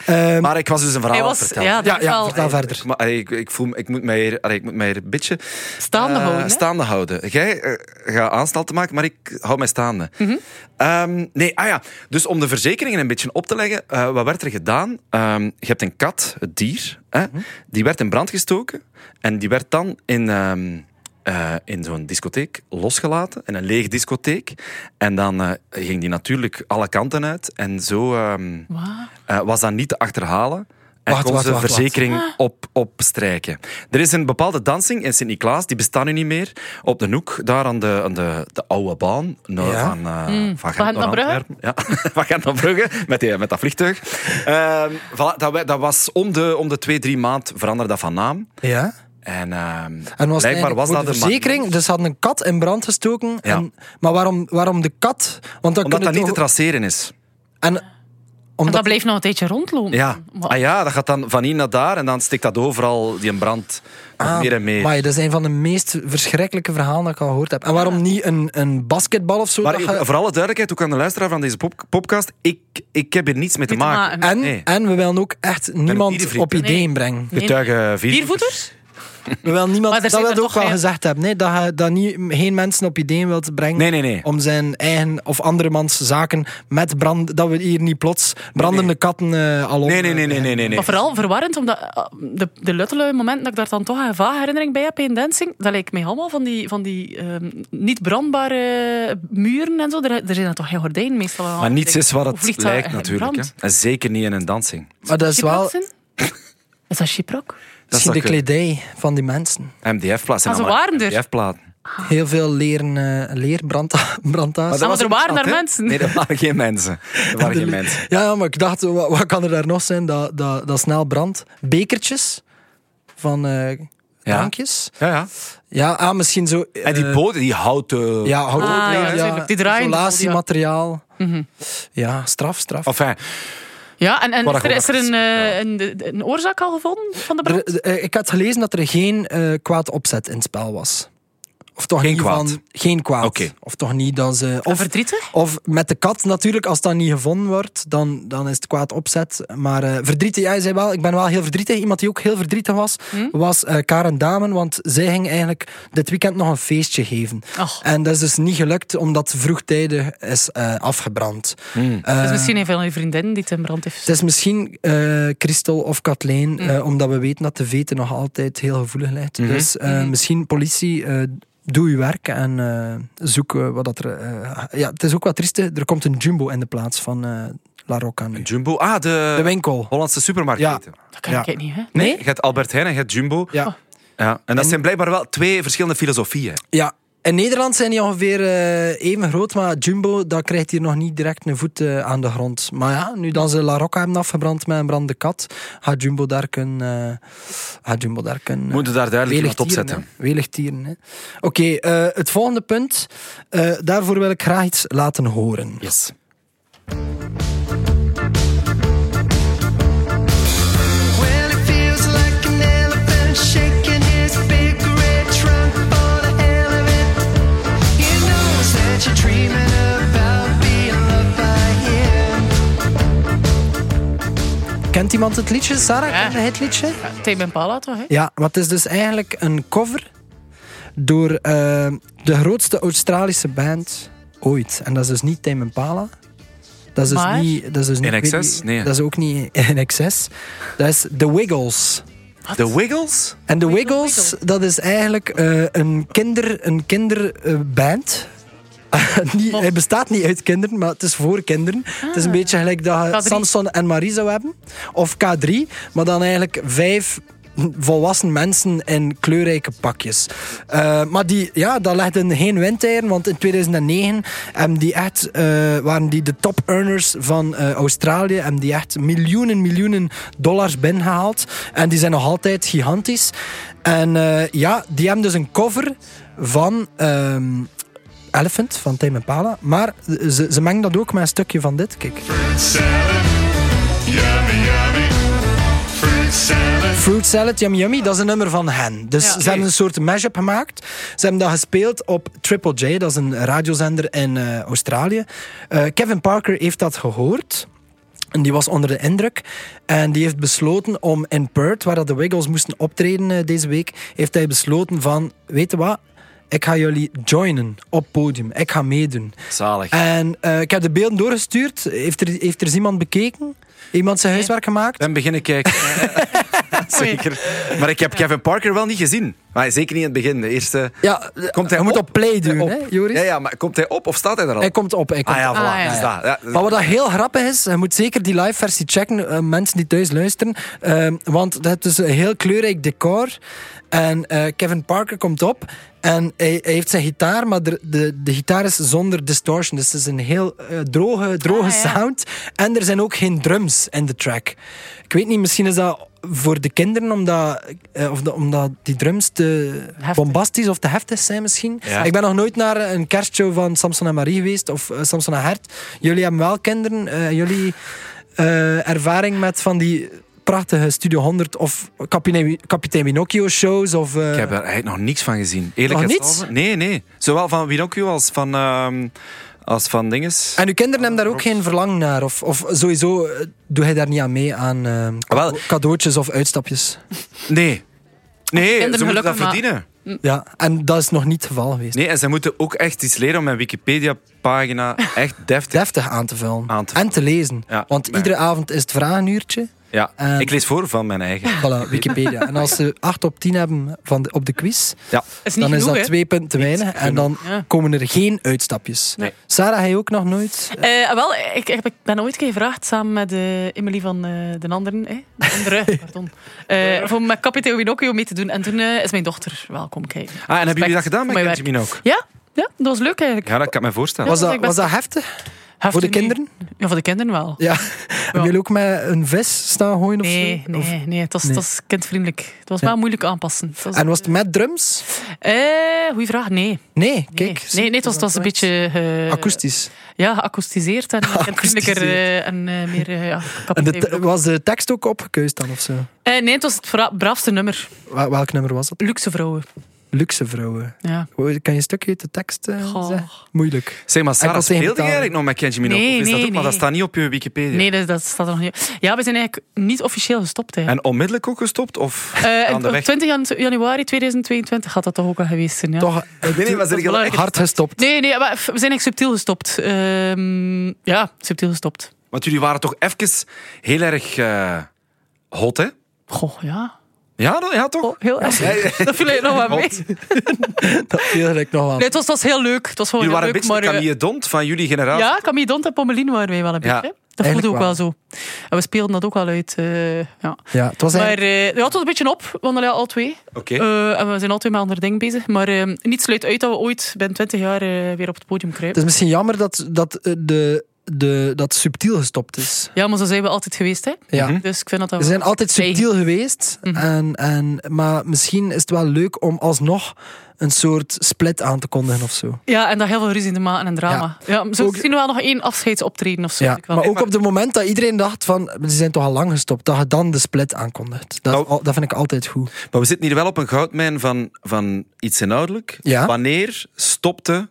Ehm, Maar ik was dus een verhaal Hij aan het was... vertellen. Ja, dat is ja, wel vertel. Ga verder. Ik, maar, ik, ik, voel, me- ik, moet mij hier, allee, ik moet mij hier een beetje staande eh, houden. hè. staande houden. Jij eh, gaat aanstalten maken, maar ik hou mij staande. Mhm. Ehm, nee, ah ja. Dus om de verzekeringen een beetje op te leggen, eh, wat werd er gedaan? Ehm, je hebt een kat, het dier, hè, Mhm. die werd in brand gestoken en die werd dan in, ehm, eh, in zo'n discotheek losgelaten, in een leeg discotheek. En dan eh, ging die natuurlijk alle kanten uit en zo ehm, Waar? eh, was dat niet te achterhalen. En Wacht, kon wacht, ze wacht, verzekering Ah. Op, opstrijken. Er is een bepaalde dansing in Sint-Niklaas, die bestaat nu niet meer. Op de hoek, daar aan de, aan de, de oude baan. nou, Ja. Van, eh van Hmm. Van Gent naar Brugge? Antwerpen. Ja, [laughs] van Gent naar Brugge, met, die, met dat vliegtuig. Ehm, voilà, dat, we- dat was om de, om de twee, drie maand veranderde dat van naam. ja. En, ehm En was blijkbaar het eigenlijk was voor dat de man- verzekering. Dus ze hadden een kat in brand gestoken. En, maar waarom, waarom de kat? Want Omdat dan kunnen dat niet te toch- traceren is. en, En omdat dat blijft nog een tijdje rondlopen. Ja. Maar- Ah ja, dat gaat dan van hier naar daar en dan stikt dat overal, die brand, nog meer en meer. Ah, Maar dat is een van de meest verschrikkelijke verhalen dat ik al gehoord heb. En waarom niet een, een basketbal of zo? Maar dat ik- je- voor alle duidelijkheid, ook aan de luisteraar van deze pop- podcast, ik, ik heb hier niets mee te Niet te maken. maken. en, Nee. en we willen ook echt niemand iedereen- op ideeën Nee. brengen. Nee. Getuigen vier. Viervoeters? We willen niemand, Maar er dat zit wil er ik ook toch wel geen- gezegd hebben. Nee, dat je dat niet, geen mensen op ideeën wilt brengen. Nee, nee, nee. Om zijn eigen of andermans zaken met brand. Dat we hier niet plots brandende katten eh al op. Nee, nee, nee, nee, nee, nee. nee. Maar vooral verwarrend, omdat eh, de, de luttelui moment dat ik daar dan toch een vage herinnering bij heb in dancing, dat lijkt mij allemaal van die, van die ehm, niet brandbare muren en zo. Er, er zijn dan toch geen gordijnen meestal aan. Maar niets Ik is wat denk, hoe het vliegt dat lijkt in natuurlijk. Hè. brand? En zeker niet in een dansing. Maar dat is wel [laughs] Chiproxen? Is dat Chiprok? Dat misschien zou de kunnen. kledij van die mensen. MDF-plaat. Ah, ze waren er. MDF-platen. Heel veel leren, eh [laughs] leerbrandtas. dat was Ah, er ook waren daar hè? mensen. Nee, dat waren geen mensen. Dat waren geen mensen. Ja, ja, maar ik dacht, wat, wat kan er daar nog zijn dat, dat, dat snel brandt? Bekertjes van eh drankjes. Ja, ja. Ja, ah, misschien zo... En die eh, boten, die houten... Ja, hout, Ah, ja, natuurlijk. Die Mhm. draaien toch al, ja. Isolatiemateriaal. Ja, straf, straf. Enfin, Ja, en, en Wat is er, een is er een, goed eh, een, een oorzaak al gevonden van de brand? Er- eh, ik had gelezen dat er geen eh, kwaad opzet in het spel was. Of toch Geen niet kwaad. Van, geen kwaad. Oké. Of toch niet dat ze... Of, verdrietig? Of met de kat natuurlijk, als dat niet gevonden wordt, dan, dan is het kwaad opzet. Maar eh, verdrietig, jij zei wel, ik ben wel heel verdrietig. Iemand die ook heel verdrietig was, Mhm. was eh, Karen Damen, want zij ging eigenlijk dit weekend nog een feestje geven. Ach. En dat is dus niet gelukt, omdat vroegtijdig is eh, afgebrand. Eh, Hmm. Dat is Dus misschien een van je vriendinnen die het in brand heeft. het is misschien eh Christel of Kathleen, eh, omdat we weten dat de veten nog altijd heel gevoelig ligt. Dus eh, misschien politie, eh, doe je werk en eh, zoek eh, wat dat er... eh, ja, het is ook wat trieste. Er komt een Jumbo in de plaats van eh, La Roca nu. Jumbo. Ah, de, De winkel. Hollandse supermarkt. Ja. eten. Dat kan Ja. ik niet, hè? Nee, je hebt Albert Heijn en je hebt Jumbo. Ja. Ja. En dat zijn blijkbaar wel twee verschillende filosofieën. ja. In Nederland zijn die ongeveer eh, even groot, maar Jumbo dat krijgt hier nog niet direct een voet eh, aan de grond. Maar ja, nu dat ze La Roca hebben afgebrand met een brandende kat, gaat Jumbo daar kunnen... eh, gaat Jumbo daar kunnen eh, Moeten daar duidelijk Welig wat op tieren, zetten. hè. Welig tieren, hè. Oké, eh, het volgende punt. Eh, daarvoor wil ik graag iets laten horen. Yes. Well, it feels like an elephant shaking his big red trunk for the hell of it. He knows that you're dreaming about being loved by him. Kent iemand het liedje? Sarah, Ja. kent jij het liedje? Tame Impala toch, hè? Ja, maar het is dus eigenlijk een cover door eh, de grootste Australische band ooit. En dat is dus niet Tame Impala. Dat is dus Maar? niet... Dat is dus niet In ik weet Excess? niet- Nee. Dat is ook niet In Excess. Dat is The Wiggles. De Wiggles? En The Wiggle Wiggles, dat is eigenlijk eh, een kinderband. Een kinder, eh, band. [laughs] Niet- hij bestaat niet uit kinderen, maar het is voor kinderen. Het is een beetje gelijk dat je K3. Samson en Marie zou hebben. Of K3, maar dan eigenlijk vijf volwassen mensen in kleurrijke pakjes. Eh, maar die, ja, dat legde geen windeieren, want in 2009 hebben die echt, eh, waren die de top earners van eh, Australië. Hebben die echt miljoenen, miljoenen dollars binnengehaald. En die zijn nog altijd gigantisch. En eh, ja, die hebben dus een cover van... ehm, Elephant van Tame Impala. Maar ze, ze mengen dat ook met een stukje van dit. Kijk. salad. Yummy, yummy. Fruit salad. Fruit Salad Yum Yummy, dat is een nummer van hen. Dus ze hebben een soort mashup gemaakt. Ze hebben dat gespeeld op Triple J, dat is een radiozender in eh, Australië. Eh, Kevin Parker heeft dat gehoord. En die was onder de indruk. En die heeft besloten om in Perth, waar dat de Wiggles moesten optreden eh, deze week, heeft hij besloten van, weet je wat, ik ga jullie joinen op podium. Ik ga meedoen. Zalig. En eh, ik heb de beelden doorgestuurd. Heeft er, heeft er eens iemand bekeken? Iemand zijn huiswerk gemaakt? ben beginnen kijken. [laughs] Zeker. Maar ik heb Kevin Parker wel niet gezien. Maar zeker niet in het begin. De eerste... Ja, Komt hij je moet op play doen, Op. hè, Joris? Ja, ja, maar komt hij op of staat hij er al? Hij komt op. Hij komt Ah ja, op. voilà. Ah, ja, ja. Dus dat, ja. Maar wat dat heel grappig is, je moet zeker die live versie checken, eh, mensen die thuis luisteren. ehm, want het is een heel kleurrijk decor. En eh, Kevin Parker komt op en hij, hij heeft zijn gitaar, maar de, de, de gitaar is zonder distortion. Dus het is een heel eh, droge, droge Ah, ja. sound. En er zijn ook geen drums in de track. Ik weet niet, misschien is dat voor de kinderen, omdat, eh, of de- omdat die drums te Heftig. bombastisch of te heftig zijn misschien. Ja. Ik ben nog nooit naar een kerstshow van Samson en Marie geweest of eh, Samson en Hert. Jullie hebben wel kinderen. eh, jullie eh, ervaring met van die prachtige Studio 100 of Kapitein, Kapitein Minocchio shows of... eh, Ik heb er eigenlijk nog niks van gezien. Eerlijk Nog gezegd. Nee, nee. Zowel van Pinocchio als van... ehm, als van dinges. En uw kinderen hebben daar ook geen verlang naar? Of, of sowieso eh, doe hij daar niet aan mee aan eh, Wel- cadeautjes of uitstapjes? Nee. Nee, kinderen ze moeten dat gelukkig maar. verdienen. Ja, en dat is nog niet het geval geweest. Nee, en ze moeten ook echt iets leren om mijn Wikipedia-pagina [laughs] echt deftig... Deftig aan te vullen Aan te en te lezen. Ja, Want maar- iedere avond is het vragenuurtje. Ja, En- ik lees voor van mijn eigen. Voilà, Wikipedia. En als ze 8 op 10 hebben van de, op de quiz, Ja. Is niet dan is genoeg, dat hè? twee punten te weinig. En dan Ja. komen er geen uitstapjes. Nee. Sarah, hij ook nog nooit. Eh, wel, ik, ik ben ooit een keer gevraagd samen met eh, Emily van eh, de anderen, eh, de andere, [laughs] pardon, eh, voor met kapitein Winocchio mee te doen. En toen eh, is mijn dochter wel komen kijken. Ah, en hebben jullie dat gedaan met Mijn werk. Benjamin ook? Ja, ja, dat was leuk eigenlijk. Ja, dat kan ik me voorstellen. Was dat was ik dat, best- was dat heftig? Heft Voor de u niet? kinderen? Ja, voor de kinderen wel. Ja. Hebben jullie ook met een vis staan gooien of Nee, zo? Of- nee, nee, het was, Nee. het was kindvriendelijk. Het was wel moeilijk aanpassen. Het was- En was het met drums? Eh, goeie vraag, nee. Nee, Nee, kijk. zie, nee, nee het was, het was een beetje... eh, Akoestisch. Ja, geacoustiseerd en kindvriendelijker eh, en eh, meer... eh, ja, En de kapitein te- was de tekst ook opgekuist dan of zo? Eh, nee, het was het vra- braafste nummer. Wa- welk nummer was dat? Luxe vrouwen. Luxe vrouwen. Ja. Kan je een stukje uit de tekst eh, Goh. zeggen? Moeilijk. Zeg maar, Sarah, Enkel tegen speelde je betaling. eigenlijk nog met Benjamin Nee, ook? Of is dat nee, ook? Maar dat nee. staat niet op je Wikipedia. Nee, dat, dat staat er nog niet. Ja, we zijn eigenlijk niet officieel gestopt. Hè. En onmiddellijk ook gestopt? Of Eh, aan de weg? 20 janu- januari 2022 had dat toch ook al geweest zijn. Ja. Toch eh, nee, maar ze liggen wel echt- hard [laughs] gestopt. Nee, nee, maar we zijn eigenlijk subtiel gestopt. Ehm, ja, subtiel gestopt. Want jullie waren toch even heel erg eh, hot, hè? Goh, ja. Ja, dat- ja toch? Oh, heel erg. [laughs] Dat viel je nog wat mee. Klopt. Dat viel ik nog wel. Nee, het, was, het was heel leuk. Het was gewoon Jullie heel waren een beetje de leuk. maar, eh, Camille Dont van jullie generatie. ja, Camille Dont en Pommeline waren wij wel een Ja, beetje. hè. Dat voelde eigenlijk ook wel. wel. zo. En we speelden dat ook wel uit. eh, ja. Ja, het was Maar eigenlijk... eh ja, het was een beetje op, want allee, al twee. Oké. Eh, en we zijn al twee met andere dingen bezig. Maar eh, niet sluit uit dat we ooit binnen 20 jaar eh, weer op het podium Het kruipen. is misschien jammer dat, dat, eh, de, de, dat subtiel gestopt is. Ja, maar zo zijn we altijd geweest. Hè. Dus- Ja. Dus ik vind dat dat Ze zijn altijd Tegen. subtiel geweest. Mhm. En, en, maar misschien is het wel leuk om alsnog een soort split aan te kondigen of zo. Ja, en dat heel veel ruzie te maken en drama. Ja, zo Ook- zien we wel nog één afscheidsoptreden of zo. Ja. Ik wel. Maar ook op het moment dat iedereen dacht van, ze zijn toch al lang gestopt, dat je dan de split aankondigt. Dat, is Nou- al- dat vind ik altijd goed. Maar we zitten hier wel op een goudmijn van, van iets inhoudelijk. Ja. Wanneer stopte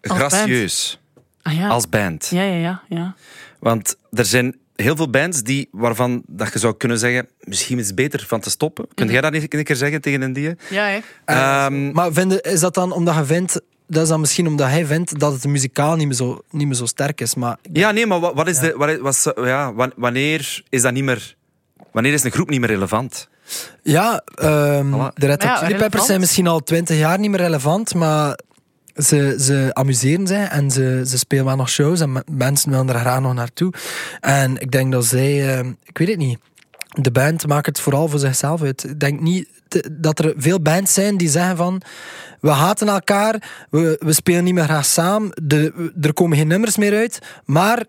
Als Gracieus Ah, ja. als band? ja, ja, ja, ja. Want er zijn heel veel bands die, waarvan dat je zou kunnen zeggen, misschien is het beter van te stoppen. Mhm. Kun jij dat niet een keer zeggen tegen een Eh, die? Ja, hè. Ehm, Maar vinden, is dat dan omdat je vindt, dat is dan misschien omdat hij vindt dat het muzikaal niet meer zo, niet meer zo sterk is. Maar ja, nee, maar wat, wat is de, wat, is- wat, zou- ja, wa- wanneer is dat niet meer... Wanneer is een groep niet meer relevant? ja, ehm, Voilà. de Red Hot Ja, Chili relevant. Peppers zijn misschien al twintig jaar niet meer relevant, maar ze, ze amuseren zich en ze, ze spelen wel nog shows en me- mensen willen er graag nog naartoe. En ik denk dat zij, ehm, ik weet het niet, de band maakt het vooral voor zichzelf uit. Ik denk niet te- dat er veel bands zijn die zeggen van we haten elkaar, we, we spelen niet meer graag samen, de, er komen geen nummers meer uit, maar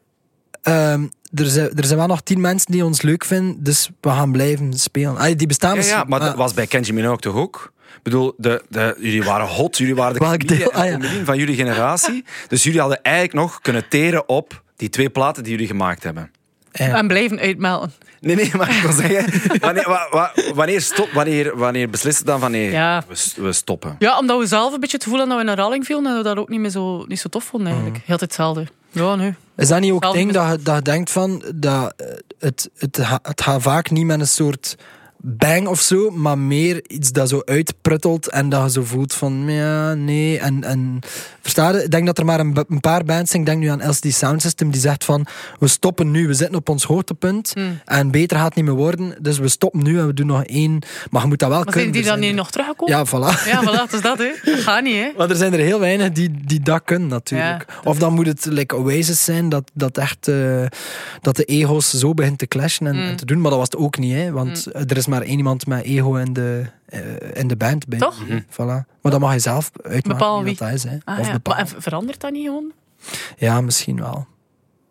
ehm, er, zijn, er zijn wel nog tien mensen die ons leuk vinden, dus we gaan blijven spelen. Allee, die bestaan Ja, ja, misschien, Ah, maar dat maar- was bij Kenji Minogue toch ook? Ik bedoel, de, de, jullie waren hot, jullie waren de Welk Camille deel? en Ah, ja. Pommelien van jullie generatie. Dus jullie hadden eigenlijk nog kunnen teren op die twee platen die jullie gemaakt hebben. Ja. En blijven uitmelden. Nee, nee, maar ik wil [laughs] zeggen, wanneer, wa- wa- wanneer, stop, wanneer, wanneer beslist het dan van nee, Ja. we, s- we stoppen? Ja, omdat we zelf een beetje het gevoel hadden dat we in herhaling vielen en dat we dat ook niet meer zo, niet zo tof vonden Mm. eigenlijk. Heel tijd hetzelfde. Ja, nu. Is dat niet ook Hetzelfde het ding met- dat je, dat je denkt van dat eh, het, het, ha- het gaat vaak niet met een soort bang of zo, maar meer iets dat zo uitpruttelt en dat je zo voelt van ja, nee. En, en versta je? Ik denk dat er maar een, b- een paar bands zijn, ik denk nu aan LCD Sound System, die zegt van we stoppen nu, we zitten op ons hoogtepunt Hmm. en beter gaat het niet meer worden, dus we stoppen nu en we doen nog één. Maar je moet dat wel Maar zijn kunnen. die dan niet verzinnen. nog teruggekomen? Ja, voilà. Ja, voilà, het is dat, [laughs] hè. Dat gaat niet, hè. Maar er zijn er heel weinig die, die dat kunnen, natuurlijk. of dan moet het like Oasis zijn, dat, dat echt eh, dat de ego's zo begint te clashen en, Mm. en te doen. Maar dat was het ook niet, hè, want er is maar één iemand met ego in de, eh, in de band. Bij. Mm. Toch? Voilà. Maar dat mag je zelf uitmaken Bepalen wie dat is. Hè. Ah, of ja. Maar bepalen. en ver- verandert dat niet gewoon? Ja, misschien wel.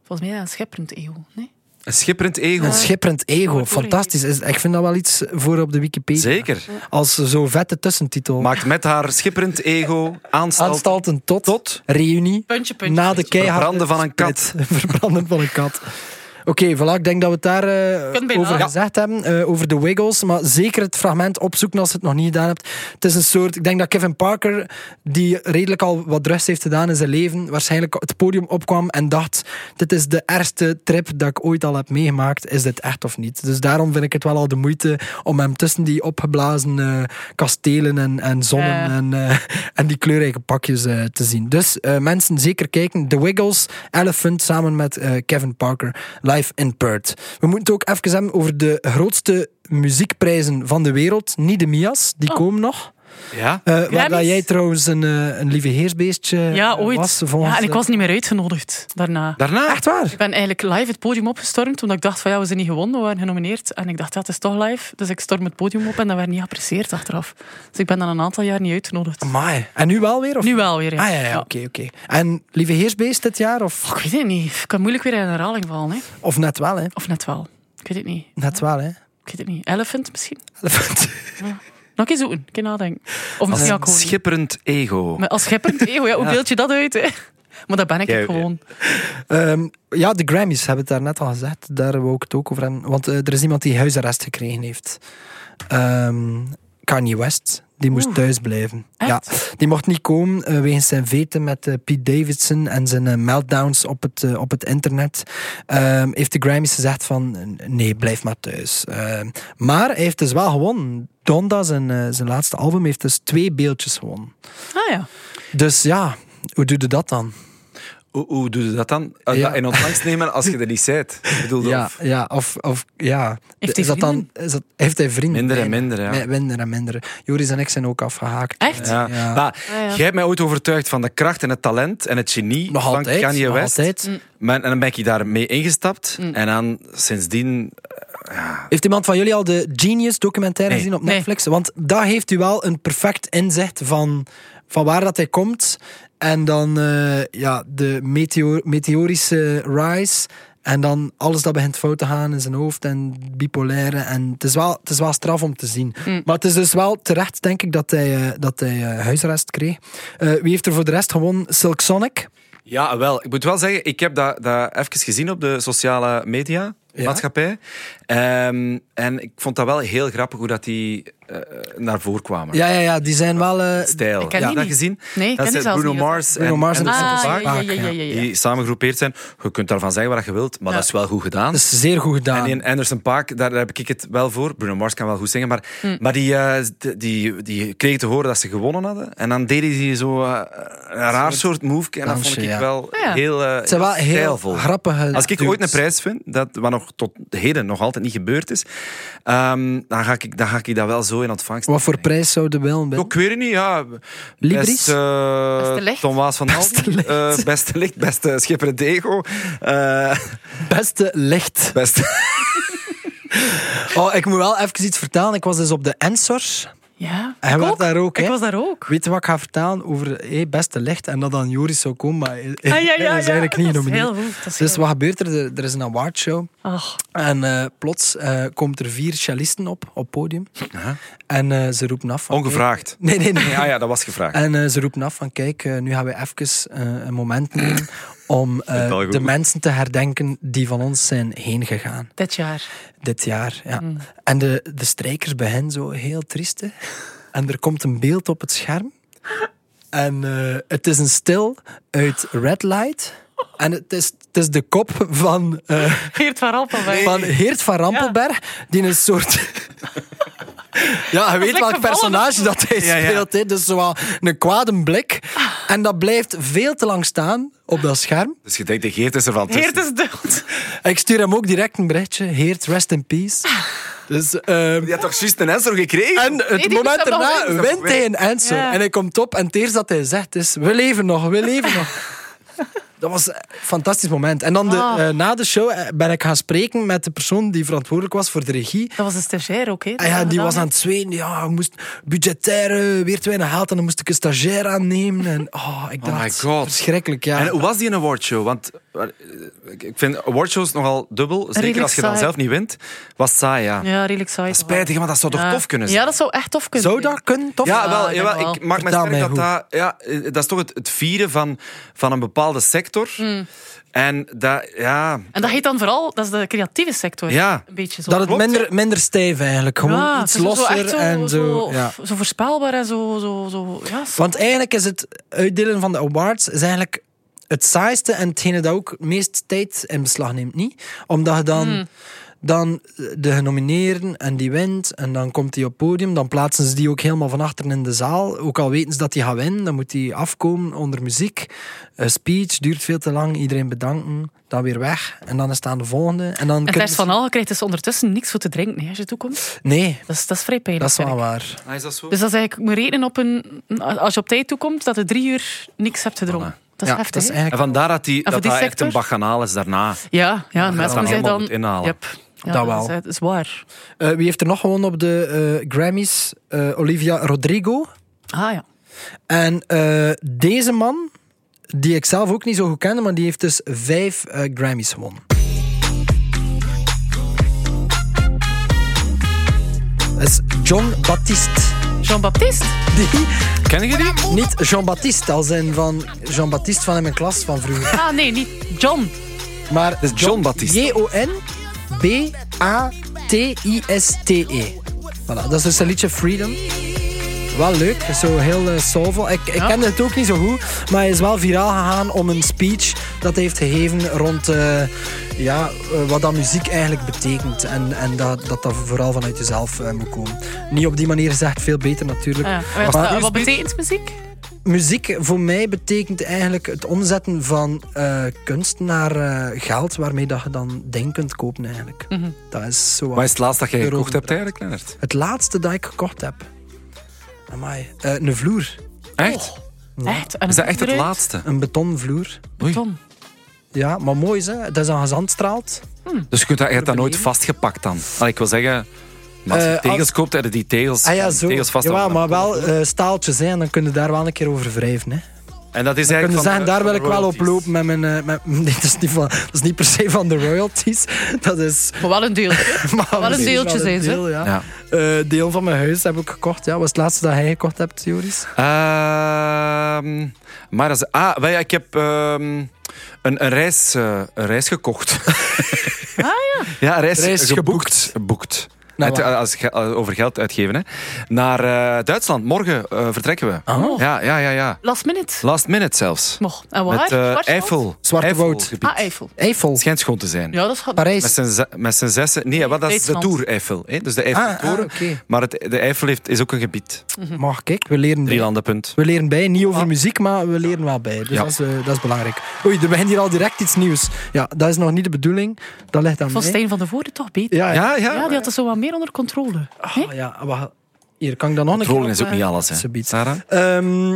Volgens mij is dat een schepperend eeuw. Nee? Een schipperend ego. Een schipperend ego, Waarvoor fantastisch. Is- Ik vind dat wel iets voor op de Wikipedia. Zeker. Als zo'n vette tussentitel. Maakt met haar schipperend ego aanstalt. Aanstalten tot, Tot? reunie. Puntje, puntje. Na de keiharde Verbranden van een kat. split. [laughs] Verbranden van een kat. Oké, voilà, ik denk dat we het daar eh, Kunnen bijna. over Ja. gezegd hebben, eh, over de Wiggles. Maar zeker het fragment opzoeken als je het nog niet gedaan hebt. Het is een soort, ik denk dat Kevin Parker, die redelijk al wat rust heeft gedaan in zijn leven, waarschijnlijk het podium opkwam en dacht, dit is de ergste trip dat ik ooit al heb meegemaakt, is dit echt of niet? Dus daarom vind ik het wel al de moeite om hem tussen die opgeblazen eh, kastelen en, en zonnen Ja. en, eh, [laughs] en die kleurrijke pakjes eh, te zien. Dus eh, mensen, zeker kijken. The Wiggles, Elephant, samen met eh, Kevin Parker, live in Perth. We moeten het ook even hebben over de grootste muziekprijzen van de wereld. Niet de Mias, die komen nog. Ja? Eh waar Oh. Grammys? dat jij trouwens een, eh, een lieve heersbeestje Ja, eh, was. ooit. volgens, Ja, en ik eh, was niet meer uitgenodigd daarna. Daarna? Echt waar? Ik ben eigenlijk live het podium opgestormd, omdat ik dacht van ja, we zijn niet gewonnen, we waren genomineerd. En ik dacht, ja, het is toch live. Dus ik storm het podium op en dat werd niet geprecieerd achteraf. Dus ik ben dan een aantal jaar niet uitgenodigd. Amai. En nu wel weer? Of? Nu wel weer, ja. Mm. Ah ja, ja, oké, oké. En Lieve Heersbeest dit jaar? Of, Oh, ik weet het niet. Ik kan moeilijk weer in herhaling vallen, hè. of net wel, hè? Of net wel. Ik weet het niet. Net wel, hè? Ik weet het niet. Elephant misschien? Elephant. Nog eens zoeken. Ik kan nadenken. Of Als misschien ook een gewoon niet. schipperend ego. Maar als schepperend eeuw, ja, hoe beeld je dat uit, hè? Maar dat ben ik Ja, ook gewoon. Ehm, ja, de Grammys hebben het daar net al gezegd. Daar wou ik het ook over hebben. Want eh, er is iemand die huisarrest gekregen heeft. Ehm, Kanye West. Die moest Oeh. thuis blijven. Echt? Ja, die mocht niet komen eh, wegens zijn veten met eh, Pete Davidson en zijn eh, meltdowns op het, eh, op het internet. Ehm, heeft de Grammys gezegd van eh, nee, blijf maar thuis. Ehm, maar hij heeft dus wel gewonnen. Donda, zijn, eh, zijn laatste album, heeft dus twee beeldjes gewonnen. Ah ja. Dus ja, hoe doe je dat dan? hoe, hoe doe je dat dan? Eh, Ja. dat In ontvangst nemen als je er niet bent. Ik bedoel, Ja, of- ja, of, of ja. Heeft hij is dat dan, is dat, heeft hij vrienden? Minder en Nee, minder, ja. nee, minder en minder. Joris en ik zijn ook afgehaakt. Echt? Ja. Ja. Maar Ah, ja. jij hebt mij ooit overtuigd van de kracht en het talent en het genie Nog van altijd, Kanye nog West. altijd. Mm. Maar, en dan ben ik daarmee ingestapt. En dan sindsdien... Heeft iemand van jullie al de Genius documentaire Nee. gezien op Nee. Netflix? Want daar heeft u wel een perfect inzicht van, van waar dat hij komt. En dan eh, ja, de meteor- meteorische rise. En dan alles dat begint fout te gaan in zijn hoofd en bipolaire. En het is wel, het is wel straf om te zien. Maar het is dus wel terecht, denk ik, dat hij, eh, dat hij eh, huisarrest kreeg. Eh, wie heeft er voor de rest gewoon Silk Sonic? Ja, wel. Ik moet wel zeggen, ik heb dat, dat even gezien op de sociale media. Ja. Maatschappij. Ehm, en ik vond dat wel heel grappig hoe dat die eh, naar voren kwamen. Ja, ja, ja, die zijn wel... eh, Stijl. Ik ken ja, die dat niet. gezien? Nee, ik dat ken zijn die zelfs Bruno niet. Mars Bruno en, Mars en en Anderson Ah, Paak, ja, ja, ja, ja. ja, ja. die samen gegroepeerd zijn. Je kunt daarvan zeggen wat je wilt, maar Ja. dat is wel goed gedaan. dat is zeer goed gedaan. En in Anderson Paak, daar heb ik het wel voor. Bruno Mars kan wel goed zingen, maar, Hm. maar die, eh, d- die, die kreeg te horen dat ze gewonnen hadden. En dan deden ze zo eh, een raar soort move. En dat vond ik dansje, ja. wel ja. heel, eh Het zijn wel heel stijlvol. grappige Als ik dudes. ooit een prijs vind, dat, wat nog tot heden nog altijd niet gebeurd is, ehm, dan, ga ik, dan ga ik dat wel zo in ontvangst Wat voor prijs zouden we willen? Ben? ik weet het niet, ja. Libris? Best, eh, Beste licht. Tom Waas van Beste Alden. licht. Eh, beste licht, beste schipper Dego. Eh, Beste licht. [laughs] beste... Oh, ik moet wel even iets vertellen. Ik was dus op de Ensors. Ja, Hij ik was daar ook, hè? Ik was daar ook. Weet je wat ik ga vertellen over hey, beste licht en dat dan Joris zou komen, maar hij Ah, ja, ja, hij is ja, eigenlijk niet dat is genomineerd. heel goed, dat is Dus heel wat gebeurt er? Er- Er is een awardshow Ach, en eh, plots eh, komt er vier cellisten op, op podium. En eh, ze roepen af van... Ongevraagd. Nee, nee, nee. Ja, ja, dat was gevraagd. En eh, ze roepen af van, kijk, eh, nu gaan we even eh, een moment nemen om eh, het al goed. de mensen te herdenken die van ons zijn heen gegaan. dit jaar. dit jaar. Ja. Mm. En de, de strijkers bij hen zo heel triest. hè. En er komt een beeld op het scherm. En eh, het is een stil uit Red Light. En het is, het is de kop van, eh, Geert van Alphenwijk. van Geert van Rampelberg, die een soort. [laughs] Ja, je weet lijkt welk gevallen. personage dat hij Ja, ja. speelt. hè. Dus zowel een kwade blik. En dat blijft veel te lang staan op dat scherm. Dus je denkt, de Geert is er van tussen. Geert is dood. Ik stuur hem ook direct een berichtje. Heert, rest in peace. Dus, ehm, Die had toch juist een Enzo gekregen? En het die moest moment dat nog daarna winnen. wint hij een Enzo. Ja. En hij komt op en het eerste dat hij zegt is... We leven nog, we leven [laughs] nog. Dat was een fantastisch moment. En dan de, Ah. eh, na de show eh, ben ik gaan spreken met de persoon die verantwoordelijk was voor de regie. Dat was een stagiair ook, hè? En Ah ja, die was aan aan het zweten. Ja, we moest budgetair eh, weer te weinig geld. En dan moest ik een stagiair aannemen. En, oh, ik dacht, my God. verschrikkelijk. Ja. En hoe was die een awardshow? Want eh, ik ik vind awardshows nogal dubbel. Zeker Redelijk als je dan saai. zelf niet wint. Was het saai, ja. Ja, redelijk saai. Spijtig, maar dat zou toch Ja. tof kunnen zijn? Ja, dat zou echt tof kunnen Zou zijn. dat kunnen? Tof? Ja, wel, ik jawel, denk wel. ik maak mij Vertel sterk dat mij dat... Ja, eh, dat is toch het, het vieren van, van een bepaalde sector. Mm. En dat... Ja... En dat heet dan vooral, dat is de creatieve sector. Ja. Een beetje zo. Dat het Klopt. minder, minder stijf eigenlijk. Gewoon Ja, iets het is losser echt en zo. Zo, ja. zo voorspelbaar en zo. zo, zo ja, zo. Want eigenlijk is het uitdelen van de awards is eigenlijk het saaiste en hetgene dat ook het meest tijd in beslag neemt, niet? Omdat je dan, Hmm. dan de genomineerden en die wint en dan komt die op podium, dan plaatsen ze die ook helemaal van achteren in de zaal. Ook al weten ze dat die gaat winnen, dan moet die afkomen onder muziek. Een speech duurt veel te lang, iedereen bedanken, dan weer weg en dan is het aan de volgende. En dan En kunnen Ters ze- van Al krijgt dus ondertussen niks voor te drinken hè, als je toekomt. Nee, Dat is, dat is vrij pijnlijk. dat is wel vind ik. waar. Ah, is dat zo? Dus dat is eigenlijk moet rekenen op een. Als je op tijd toekomt, dat je drie uur niks hebt gedronken. Dat is ja, heftig. dat is hè? En eigenlijk... vandaar dat die, Ah, voor dat die dat echt sector? een bachanaal is daarna. Ja, ja, mensen dan zeggen helemaal dan. moet inhalen. Yep. Ja, Dat wel. Is, dat is waar. Eh, wie heeft er nog gewonnen op de eh, Grammys? Eh, Olivia Rodrigo. Ah ja. En eh, deze man, die ik zelf ook niet zo goed kende, maar die heeft dus vijf eh, Grammys gewonnen. Dat is John Baptiste. [laughs] Jean-Baptiste? Die, Ken je die? niet Jean-Baptiste, als in van Jean-Baptiste van in mijn klas van vroeger. Ah nee, niet John. Maar is John Baptiste. J-O-N B-A-T-I-S-T-E. E. Voilà, dat is dus een liedje Freedom. Wel leuk, zo heel eh, soulful. Ik, ik kende het ook niet zo goed, maar hij is wel viraal gegaan om een speech dat hij heeft gegeven rond eh, ja, eh, wat dat muziek eigenlijk betekent. En, en dat, dat dat vooral vanuit jezelf eh, moet komen. Niet op die manier gezegd, veel beter natuurlijk. Ah, ja. Maar- Wat, wat betekent muziek? muziek voor mij betekent eigenlijk het omzetten van eh, kunst naar eh, geld waarmee dat je dan dingen kunt kopen eigenlijk. Dat is zo wat- Wat is het laatste dat jij De gekocht rode hebt eigenlijk, Lennart? Het laatste dat ik gekocht heb. Amai. Eh, een vloer. Echt? Oh. Echt? En Is dat echt het eruit? laatste? Een betonvloer. Oei. Tom. Ja, maar mooi is hè. Dat is dan gezandstraald. Dus je, kunt dat, je hebt dat nooit vastgepakt dan? Allee, ik wil zeggen, maar als je Eh, tegels als- koopt, heb je die tegels, Ah ja, zo. tegels Jawel, vastgepakt. maar wel eh, staaltjes hè. En dan kun je daar wel een keer over wrijven hè. En dat is Ik eigenlijk kunnen van de- zeggen, daar wil van ik de wel op royalties. lopen met mijn... eh, met- [laughs] nee, dat is, niet van, dat is niet per se van de royalties. [laughs] Dat is... Maar wel een deel. [laughs] Maar een misschien deeltje wel een zijn ze. deel, ja. Ja. Eh, deel van mijn huis heb ik gekocht. Ja. Wat is het laatste dat jij gekocht hebt, Joris? Ehm, maar als, ah, wij, ik heb ehm, een, een, reis, eh, een reis gekocht. ah [laughs] ja. Ja, een reis, Reis geboekt. Geboekt. Naar Het- waar? als, ge- eh, over geld uitgeven. Hè. Naar eh, Duitsland. Morgen eh, vertrekken we. Oh. Ja, ja, ja, ja. Last minute. Last minute zelfs. Mocht. En waar? Met eh, Schwarzwald? Eiffel. Zwarte Eifelgebied. Woud. Ah, Eiffel. Eiffel. Het schijnt schoon te zijn. Ja, dat gaat... Parijs. Met zijn, ze- met zijn zessen. Nee, wat, dat is de Duitsland. Tour Eiffel. Hè? Dus de ah, Eiffeltoren. oké. Maar het, de Eiffel heeft, is ook een gebied. Mag ik? We leren bij. Drielandenpunt. We leren bij. Niet over muziek, maar we leren wel bij. Dus Ah. Ja. dat, is, eh, dat is belangrijk. Oei, er begint hier al direct iets nieuws. Ja, dat is nog niet de bedoeling. Dat ligt aan Van mij. Stijn van de Voorde toch beter. Ja, Ja, ja. ja. Ja, die had het zo wat meer onder controle. Hè? Ah, ja wacht. Hier, kan ik dan nog een keer Trollen op, is ook eh, niet alles. Hè. alsjeblieft. Sarah? Ehm,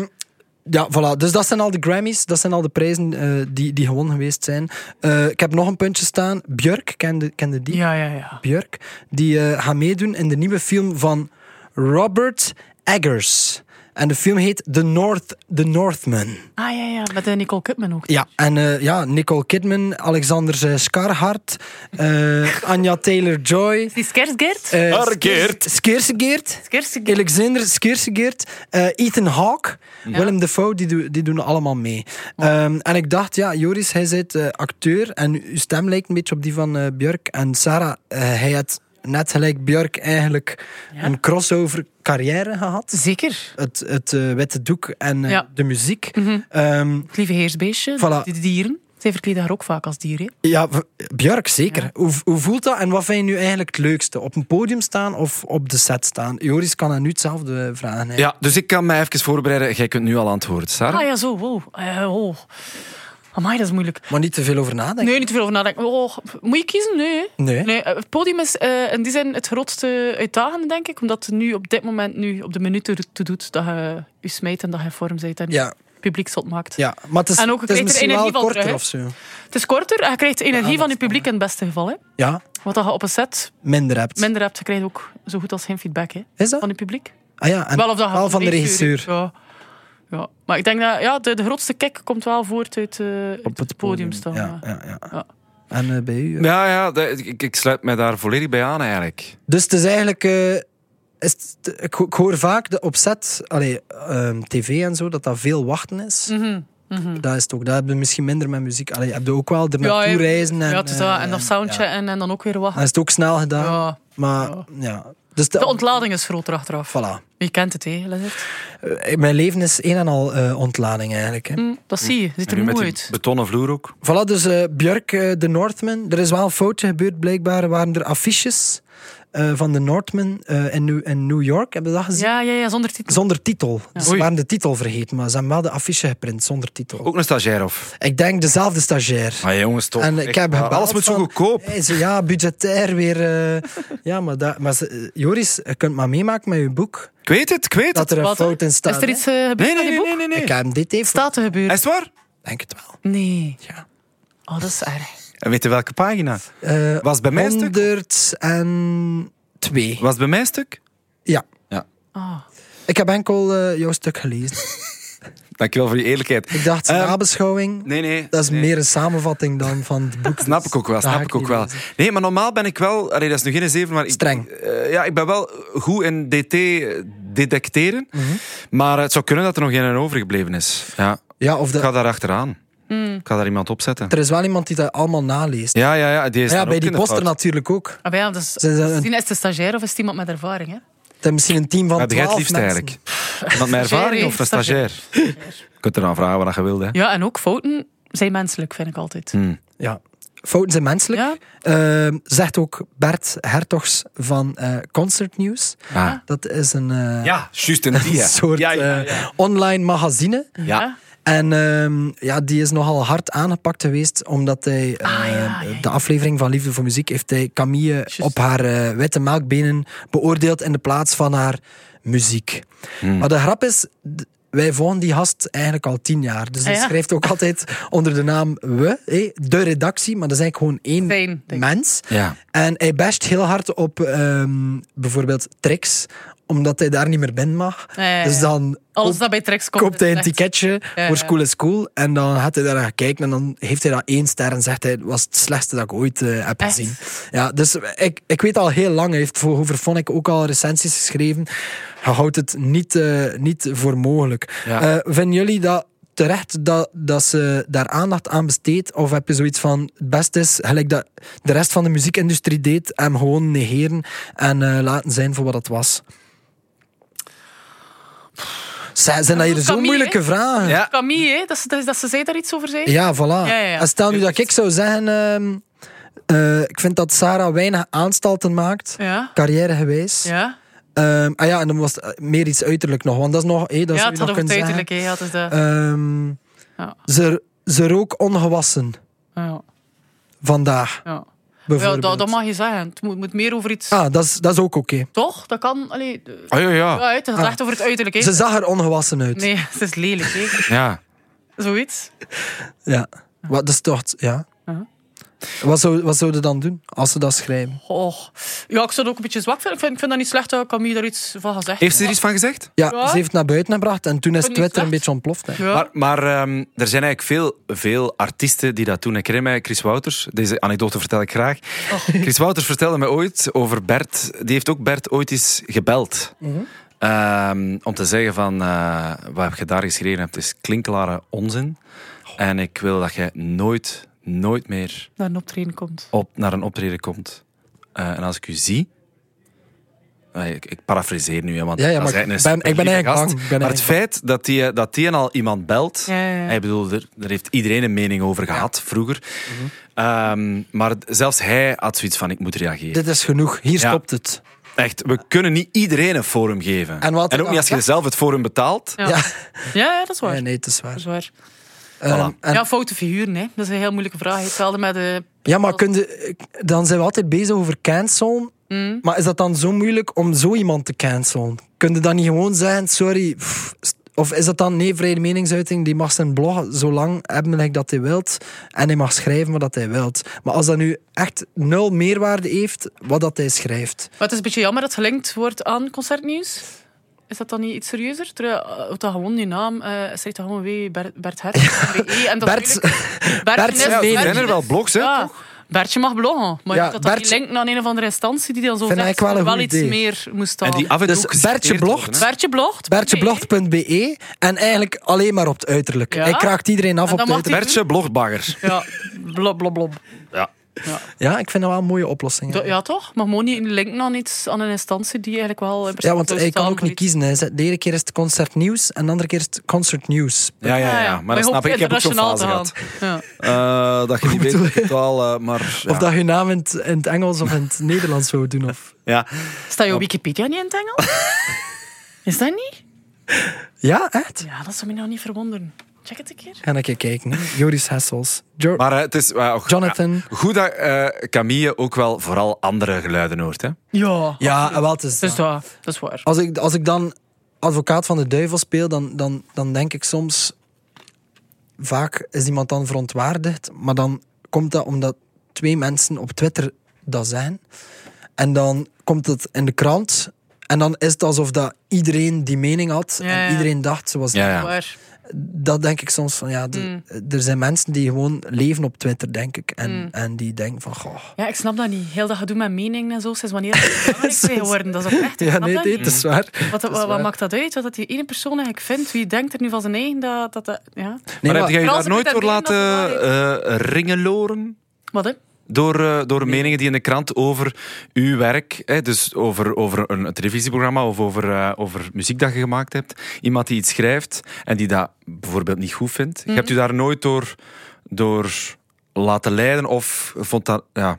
ja, voilà. Dus dat zijn al de Grammys. Dat zijn al de prijzen eh, die, die gewonnen geweest zijn. Eh, ik heb nog een puntje staan. Björk, kende, kende die? Ja, ja, ja. Björk. Die eh, gaat meedoen in de nieuwe film van Robert Eggers. En de film heet The, North, The Northman. Ah, ja, ja. Met eh, Nicole Kidman ook. Ja, en eh, ja, Nicole Kidman, Alexander eh, Skarhart, eh, Anja Taylor-Joy... Die Skersgeert. eh, Skersgeert. Skers- Skersgeert. Skersgeert. Alexander Skersgeert, eh, Ethan Hawke, Willem Dafoe, die, do- die doen allemaal mee. Ehm, en ik dacht, ja, Joris, hij bent eh, acteur en uw stem lijkt een beetje op die van eh, Björk. En Sarah, eh, hij had net gelijk Björk eigenlijk een crossover carrière gehad. Zeker. Het, het eh, witte doek en eh, Ja. Mhm. de muziek. Ehm, Het lieve heersbeestje. Voilà. De dieren. Zij verkleden haar ook vaak als dier. Hè? ja, v- Björk, zeker. Hoe, hoe voelt dat en wat vind je nu eigenlijk het leukste? Op een podium staan of op de set staan? Joris kan aan nu hetzelfde vragen. hè. Ja, dus ik kan mij even voorbereiden. Jij kunt nu al antwoorden, Sarah. Ah ja, zo. Wow. Eh, oh. Amai, dat is moeilijk. Maar niet te veel over nadenken. Nee, niet te veel over nadenken. Oh, moet je kiezen? Nee. hè. Nee. eh, het podium is eh, in die zin het grootste uitdagende, denk ik. Omdat het nu op dit moment, nu op de minuut ertoe doet dat je je smijt en dat je in vorm bent en Ja. het publiek zot maakt. Ja, maar het is, En ook het is beter misschien wel energie van korter terug, hè? of zo. Het is korter en je krijgt energie dat van je is dan, publiek in het beste geval. Hè. Ja, Wat dat je op een set minder hebt. minder hebt, je krijgt ook zo goed als geen feedback hè, is dat? van je publiek. Ah ja, en wel of dat je wel van de regisseur. Ja. Ja. Maar ik denk dat ja, de, de grootste kick komt wel voort uit, eh, uit Op het podium staan. Ja, ja. ja, ja. Ja. En eh, bij u? eh. Ja, ja, de- ik, ik sluit mij daar volledig bij aan eigenlijk. Dus het is eigenlijk... eh, is het- ik, ho- ik hoor vaak de opzet, allee, ehm, tv en zo, dat dat veel wachten is. Mhm, Dat is het ook. Dat hebben we misschien minder met muziek. Allee, heb je ook wel er Ja, naartoe reizen. En, ja, het is dat. eh, En dat soundje ja. en, en dan ook weer Dan wachten. is het ook snel gedaan. Ja. Maar ja. Dus de, De ontlading is groter achteraf. voilà. Je kent het, hè, Lennart. Eh, Mijn leven is een en al eh, ontlading eigenlijk. Hè. Dat zie je. Ziet nu er met moe die uit. betonnen vloer ook. Voilà, dus eh, Björk, eh, de Northman. Er is wel een foutje gebeurd, blijkbaar waren er affiches eh, van de Northman eh, in, New, in New York. Hebben we dat gezien? Ja, ja, ja, zonder titel. Zonder titel. Dus ze Oei. waren de titel vergeten, maar ze hebben wel de affiche geprint zonder titel. Ook een stagiair of? Ik denk dezelfde stagiair. Ah jongens, toch. En ik Echt heb waar. gebeld Alles moet zo van- goedkoop. Hij zei, ja, budgetair weer. eh, [laughs] ja, maar, dat, maar ze- eh, Joris, je kunt maar meemaken met je boek Ik weet het, ik weet dat het. er een Wat, hè? fout in staat. Is er hè. iets eh, gebeurd Nee, aan nee, die nee, boek? nee, nee. Ik heb hem dit even. Staat te gebeuren? Is het waar? Denk het wel. Nee. Ja. Oh, dat is erg. En weet je welke pagina? Eh, Was het bij mij een stuk? 102. Was het bij mij een stuk? Ja. Ah. Ik heb enkel eh, jouw stuk gelezen. Dankjewel voor je eerlijkheid. Ik dacht, Ehm, nabeschouwing, Nee, nee. dat is nee. meer een samenvatting dan van het boek. Snap ik ook wel, Dat ga snap ik ik ook niet wel. lezen. Nee, maar normaal ben ik wel... Allee, dat is nu geen zeven, maar... Ik, Streng. Eh, ja, ik ben wel goed in DT detecteren. Mhm. Maar het zou kunnen dat er nog één overgebleven is. [laughs] Ja. Ja, of Ik ga de, daar achteraan. Ik ga daar iemand opzetten. er is wel iemand die dat allemaal naleest. Ja, ja, ja. Die is Maar ja, daar bij ook die in de poster fout. natuurlijk ook. Ah, maar ja, dat is, Zijn ze een- misschien is het een stagiair of is het iemand met ervaring? Hè? Het is misschien een team van Heb jij het twaalf liefst mensen. eigenlijk? Iemand met Stagiair, ervaring of hè? een stagiair? Je kunt er aan nou vragen wat je wilde. hè. Hmm. Ja, en ook fouten zijn menselijk, vind ik altijd. Ja. Fouten zijn menselijk. Ja. Ehm, zegt ook Bert Hertogs van eh, Concert News. Ah. Dat is een, eh, Ja, juist een een die. hè. [laughs] soort ja, ja, ja. eh, online magazine. Ja. En ehm, ja, die is nogal hard aangepakt geweest, omdat hij eh, Ah, ja, ja, ja. de aflevering van Liefde voor Muziek heeft hij Camille op haar eh, witte melkbenen beoordeeld in de plaats van haar muziek. Maar de grap is, d- wij volgen die gast eigenlijk al tien jaar. Dus hij Ah, ja. schrijft ook altijd onder de naam we, hé, de redactie, maar dat is eigenlijk gewoon één Fijn, denk ik. mens. Ja. En hij basht heel hard op ehm, bijvoorbeeld tricks, omdat hij daar niet meer binnen mag. Ja, ja, ja. Dus dan Alles op- dat bij Trex komt. koopt hij een is echt- ticketje Ja, voor ja. School is Cool. En dan gaat hij daar naar gekeken en dan heeft hij dat één ster en zegt hij, het was het slechtste dat ik ooit eh, heb Echt? gezien. Ja, dus ik, ik weet al heel lang, hij heeft voor, over Phonic ook al recensies geschreven. Hij houdt het niet, eh, niet voor mogelijk. Ja. Eh, vinden jullie dat terecht dat, dat ze daar aandacht aan besteedt? Of heb je zoiets van, het beste is, gelijk dat de rest van de muziekindustrie deed, hem gewoon negeren en eh, laten zijn voor wat het was? Zijn, zijn dat hier Dat zo kan niet, moeilijke hè? vragen? Ja. Camille, hè, dat, ze, dat, dat ze zij daar iets over zei. Ja, voilà. Ja, ja, ja. En stel nu dat ik zou zeggen... ehm, eh, ik vind dat Sarah weinig aanstalten maakt, Ja. carrièregewijs. Ja, Ehm, ah ja, en dan was het eh, meer iets uiterlijk nog, want dat is nog... hé, dat ja zou het je had nog over het kunnen uiterlijk. zeggen. hè, ja, het is de- Ehm, Ja. ze, ze rook ongewassen ja, vandaag, ja. ja bijvoorbeeld. dat, dat mag je zeggen. Het moet, moet meer over iets... Ah, dat is, dat is ook oké. Toch? Dat kan... Allee, eh, Oh, ja, ja. ja, het gaat Ah. echt over het uiterlijk. hè. Ze zag er ongewassen uit. Nee, [laughs] het is lelijk. hè. ja. Zoiets. Ja. Wat, dat is toch... Ja. Ja. Wat, zou, wat zouden dan doen, als ze dat schrijven? Och. Ja, ik zou het ook een beetje zwak vinden. Ik vind, ik vind dat niet slecht dat Camille daar iets van gezegd Heeft ze er iets van gezegd? Ja, Ja. ze heeft het naar buiten gebracht en toen is Vond je Twitter een het beetje ontploft. hè. Ja. Maar, maar ehm, er zijn eigenlijk veel, veel artiesten die dat doen. Ik herinner mij Chris Wouters, deze anekdote vertel ik graag. Chris Wouters vertelde mij ooit over Bert. Die heeft ook Bert ooit eens gebeld. Ehm, om te zeggen van, eh, wat heb je daar geschreven hebt, is klinkklare onzin. En ik wil dat je nooit, nooit meer naar een optreden komt. op, naar een optreden komt. Eh, en als ik u zie... Eh, Ik, ik parafraseer nu, hè, want Ja, ja, dat maar is eigenlijk ik een ben- ik ben superlieve eigenlijk gast. bang. Ik ben maar het feit dat die, eh, dat die al iemand belt... Ja, ja, ja. Ik bedoel, er, daar heeft iedereen een mening over gehad, vroeger. Mhm. Ehm, maar zelfs hij had zoiets van, ik moet reageren. Dit is genoeg, hier Ja. stopt het. Echt, we kunnen niet iedereen een forum geven. En wat- ook niet als je ja. zelf het forum betaalt. Ja. Ja. Ja. ja, dat is waar. Nee, nee, het is waar. Dat is waar. Ehm, en- Ja, foute figuren, hè. dat is een heel moeilijke vraag. Hetzelfde met de. ja, maar kun je- ik- dan zijn we altijd bezig over cancelen. Mm. Maar is dat dan zo moeilijk om zo iemand te cancelen? Kun je dan niet gewoon zeggen, sorry... pff, st- of is dat dan, nee, vrije meningsuiting, die mag zijn blog zo lang hebben gelijk dat hij wilt. En hij mag schrijven wat dat hij wilt. Maar als dat nu echt nul meerwaarde heeft, wat dat hij schrijft. Maar het is een beetje jammer dat het gelinkt wordt aan concertnieuws. Is dat dan niet iets serieuzer? Terwijl eh, dat gewoon je naam, eh zegt dat gewoon wie Bert, Bert [laughs] Hert. BE, en dat Bert- natuurlijk- Bert is- zijn Ja, mening. er zijn er wel is- blogs, hè, ja. toch? Bertje mag bloggen, maar Ja, dat dat Bert- niet linkt aan een of andere instantie die dan zo Vind zegt ik wel dat een er wel goed iets idee. meer moest En aan. die af en toe Dus geciteerd Bertje blogt. worden, hè. Bertje blogt. Bertjeblogt.be E, en eigenlijk alleen maar op het uiterlijk. Ja. Hij kraakt iedereen af En op dan het mag uiterlijk. Bertje blogbaggers. [laughs] Ja, blob, blob, blob. Ja, ik vind dat wel een mooie oplossing. Do- Ja, toch? Maar gewoon niet linken aan iets, aan een instantie die eigenlijk wel... in Ja, want principe hij kan zou ook niet staan kiezen. Hij zegt, De ene keer is het concertnieuws en de andere keer is het concertnieuws. Ja, ja, ja, voor iets. Maar dat Ah, je snap hoopt ik. Ik heb ook zo'n internationaal fase gehad. te gaan. Ja. Eh, dat je niet weet bedoel wat je taal... eh, maar, ja. Of dat je naam in het, in het Engels of in [laughs] het Nederlands zou doen. Of... Ja. Staat jouw Wikipedia niet in het Engels? [laughs] Is dat niet? Ja, echt? Ja, dat zou me nou niet verwonderen. Check het een keer. Ga een keer kijken. hè. Joris Hessels. Jo- Maar eh, het is... eh, ook- Jonathan. ja, goed dat eh, Camille ook wel vooral andere geluiden hoort. Hè? Ja. ja, en wel, het is, Dus dat, dat is waar. Oh, Als, ik, als ik dan advocaat van de duivel speel, dan, dan, dan denk ik soms... Vaak is iemand dan verontwaardigd, maar dan komt dat omdat twee mensen op Twitter dat zijn. En dan komt het in de krant... En dan is het alsof dat iedereen die mening had Ja, ja. en iedereen dacht zoals Ja, ja. Waar. dat denk ik soms van ja, de- Mm. er zijn mensen die gewoon leven op Twitter, denk ik. En, Mm. en die denken van goh. Ja, ik snap dat niet. Heel dat gedoe met meningen en zo, sinds [laughs] wanneer is dat belangrijk mee geworden? Dat is ook echt, ik Ja, snap nee, dat nee, niet. het Mm. is waar. Wat, wat, wat maakt dat uit? Wat dat die ene persoon eigenlijk vindt? Wie denkt er nu van zijn eigen dat... dat, dat ja. Nee, maar, maar- heb jij je Frans, daar ik nooit moet door dat laten meenemen, eh, ringeloren? Wat, hè? Door, eh, door meningen die in de krant over uw werk, hè, dus over, over een televisieprogramma of over, eh, over muziek dat je gemaakt hebt. Iemand die iets schrijft en die dat bijvoorbeeld niet goed vindt. Je hebt u daar nooit door, door laten leiden of vond dat... Ja.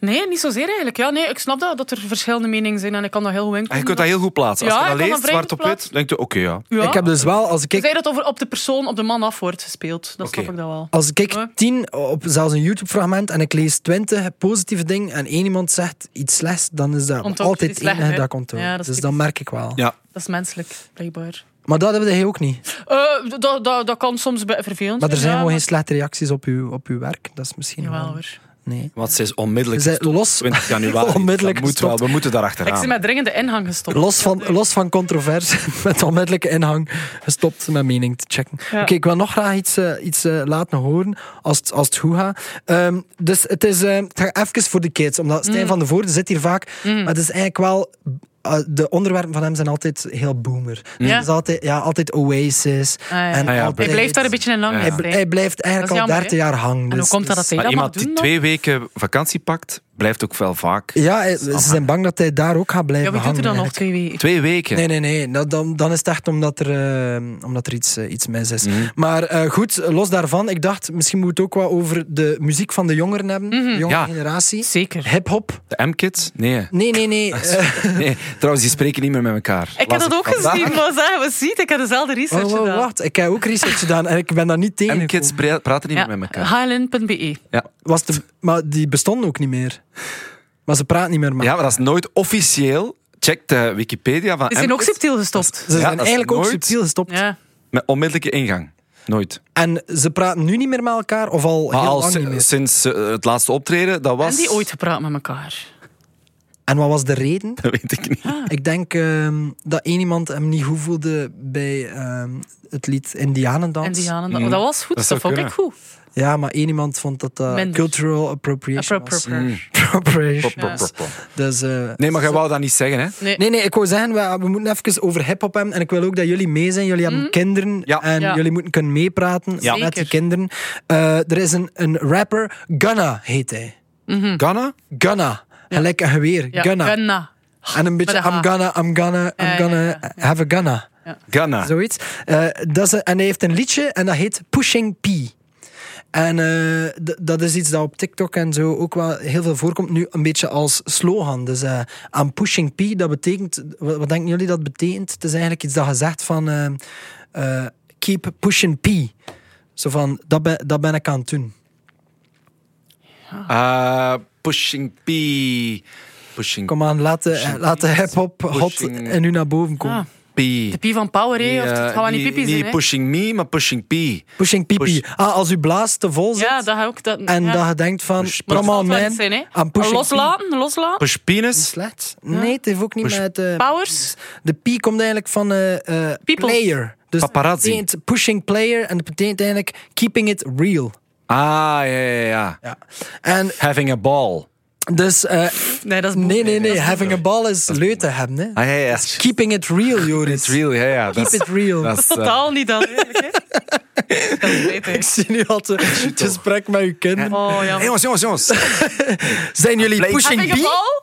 Nee, niet zozeer eigenlijk. Ja, nee, ik snap dat, dat er verschillende meningen zijn en ik kan dat heel goed Ah, Je inkomen. kunt dat heel goed plaatsen. Als Ja, je dat ik kan dat leest, vrij zwart goed op wit, plaatsen. denk je, oké, ja. Ja. Ik heb dus wel, als Je ik zei dat over op de persoon, op de man af wordt gespeeld. Dat Oké. snap ik dan wel. Als ik Ja. tien op zelfs een YouTube-fragment en ik lees twintig positieve dingen en één iemand zegt iets slechts, dan is dat Onthoud altijd iets één slecht, hè? dat ik onthoud. Ja, dat is dus dat typisch. merk ik wel. Ja, Dat is menselijk, blijkbaar. Maar dat hebben we ook niet. Eh, dat, dat, dat kan soms bij- vervelend Maar er zijn ja, gewoon geen slechte reacties op uw, op uw werk. Dat is misschien Jawel wel- hoor. Nee. want ze is onmiddellijk Ze zijn los, 20 [laughs] januari. Onmiddellijk dat moet wel, gestopt. we moeten daar achteraan. Ik zit met dringende inhang gestopt. los, van, los van controverse, [laughs] met onmiddellijke inhang, gestopt mijn mening te checken. Ja. Oké, ik wil nog graag iets, eh, iets eh, laten horen, als het, als het goed gaat. Ehm, dus het is, eh, ik ga even voor de kids, omdat Mm. Stijn van de Voorde zit hier vaak, maar het is eigenlijk wel... eh, de onderwerpen van hem zijn altijd heel boomer. Dus Ja. Het is altijd, ja, altijd Oasis. ja. en Ah ja, altijd, Hij blijft daar een beetje in lang. Hij, Ja. bl- hij blijft eigenlijk Dat al is jammer, 30 jaar hangen. En dus- hoe komt dat dus- dat maar hij dat mag iemand doen die dan? twee weken vakantie pakt, blijft ook wel vaak. Ja, hij- ze zijn bang dat hij daar ook gaat Ja, blijven wie doet er hangen. dan nog eigenlijk. twee weken? Twee weken. Nee, nee, nee. Nou, dan, dan is het echt omdat er, eh, omdat er iets, eh, iets mis is. Mhm. Maar eh, goed, los daarvan. Ik dacht, misschien moet het ook wat over de muziek van de jongeren hebben. De jonge Mhm. Ja. generatie. Zeker. Hip-hop. De M-kids? Nee. Nee, [laughs] nee, nee. Eh, nee. Trouwens, die spreken niet meer met elkaar. Ik heb Las dat ook vandaag. gezien, maar zeg, wat ziet, ik heb dezelfde research oh, oh, gedaan. wacht, ik heb ook research gedaan en ik ben daar niet [laughs] tegen. M-kids pra- praten niet meer Ja, met elkaar. highland.be. Ja. Was de, maar die bestonden ook niet meer. Maar ze praten niet meer. Maar ja, maar dat is nooit officieel. Check de Wikipedia van Is hij ook M-kids subtiel gestopt? Ze Ja, zijn dat is eigenlijk ook nooit- subtiel gestopt. Ja. Met onmiddellijke ingang. Nooit. En ze praten nu niet meer met elkaar of al Maar heel al lang si- niet meer. sinds eh, het laatste optreden, dat was... En die ooit gepraat met elkaar. En wat was de reden? [laughs] Dat weet ik niet. Ik denk ehm, dat één iemand hem niet goed voelde bij ehm, het lied Indianendans. En die aan- dat was Mm. goed, Dat dat, zou vond kunnen. ik goed. Ja, maar één iemand vond dat dat Minder. cultural appropriation was. Mm. Mm. Appropriate. [laughs] Appropriation. Plop, plop, plop, plop. Dus, eh, Nee, maar jij wou dat niet zeggen, hè? Nee, nee, ik wou zeggen, we, we moeten even over hip-hop hebben. En ik wil ook dat jullie mee zijn. Jullie hebben kinderen Ja. en Mhm. Ja. jullie moeten kunnen meepraten Ja. met die Zeker. kinderen. Eh, er is een, een rapper, Gunna heet hij. Ghana? Gunna. Gelijk een geweer. Ja, Gunna. Gunna. En een beetje, Met een H. I'm gonna, I'm gonna, I'm Ja, ja, gonna ja, have a Gunna. Ghana. Zoiets. Eh, dat is, en hij heeft een liedje en dat heet Pushing P. En eh, d- dat is iets dat op TikTok en zo ook wel heel veel voorkomt. Nu een beetje als slogan. Dus eh I'm pushing P, dat betekent... Wat, wat denken jullie dat betekent? Het is eigenlijk iets dat gezegd van... eh, eh, keep pushing P. Zo van, dat ben, dat ben ik aan het doen. Eh, pushing P. Pushing Kom aan, laat de, eh, laat de hip-hop hot Pushing- en nu naar boven komen. Ah, P. de P van Power, hè? of het eh, gaan we niet pipi zijn, niet hè? pushing me, maar pushing P. Pushing P. Push- Ah, als uw blaas te vol zit Ja, dat ga ik ook... Dat, en ja. dat je denkt van... Push- Come Dat on, zou het man. zijn, hè? I'm pushing P. Loslaten, loslaten. Push penis. Slecht? Nee, het heeft ook niet Push- met... eh, Powers. de P komt eigenlijk van eh, eh, People. player. Dus Paparazzi. het betekent pushing player en dat betekent eigenlijk keeping it real. Ah, ja, ja, ja. Ja. En Having a ball. dus... eh, Nee, dat is boem. nee, nee, nee. Having a ball is leuk te hebben, hè. Ah, ja, ja. Keeping it real, It's Joris. real, ja, ja. Keep it real. dat is, eh, Totaal niet dan, eigenlijk, hè? [laughs] Dat is beter. [laughs] Ik zie nu al te- het gesprek met uw kinderen. Oh, ja. Hey, jongens, jongens, Ah, jongens. Zijn jullie Play- pushing Having a P? ball?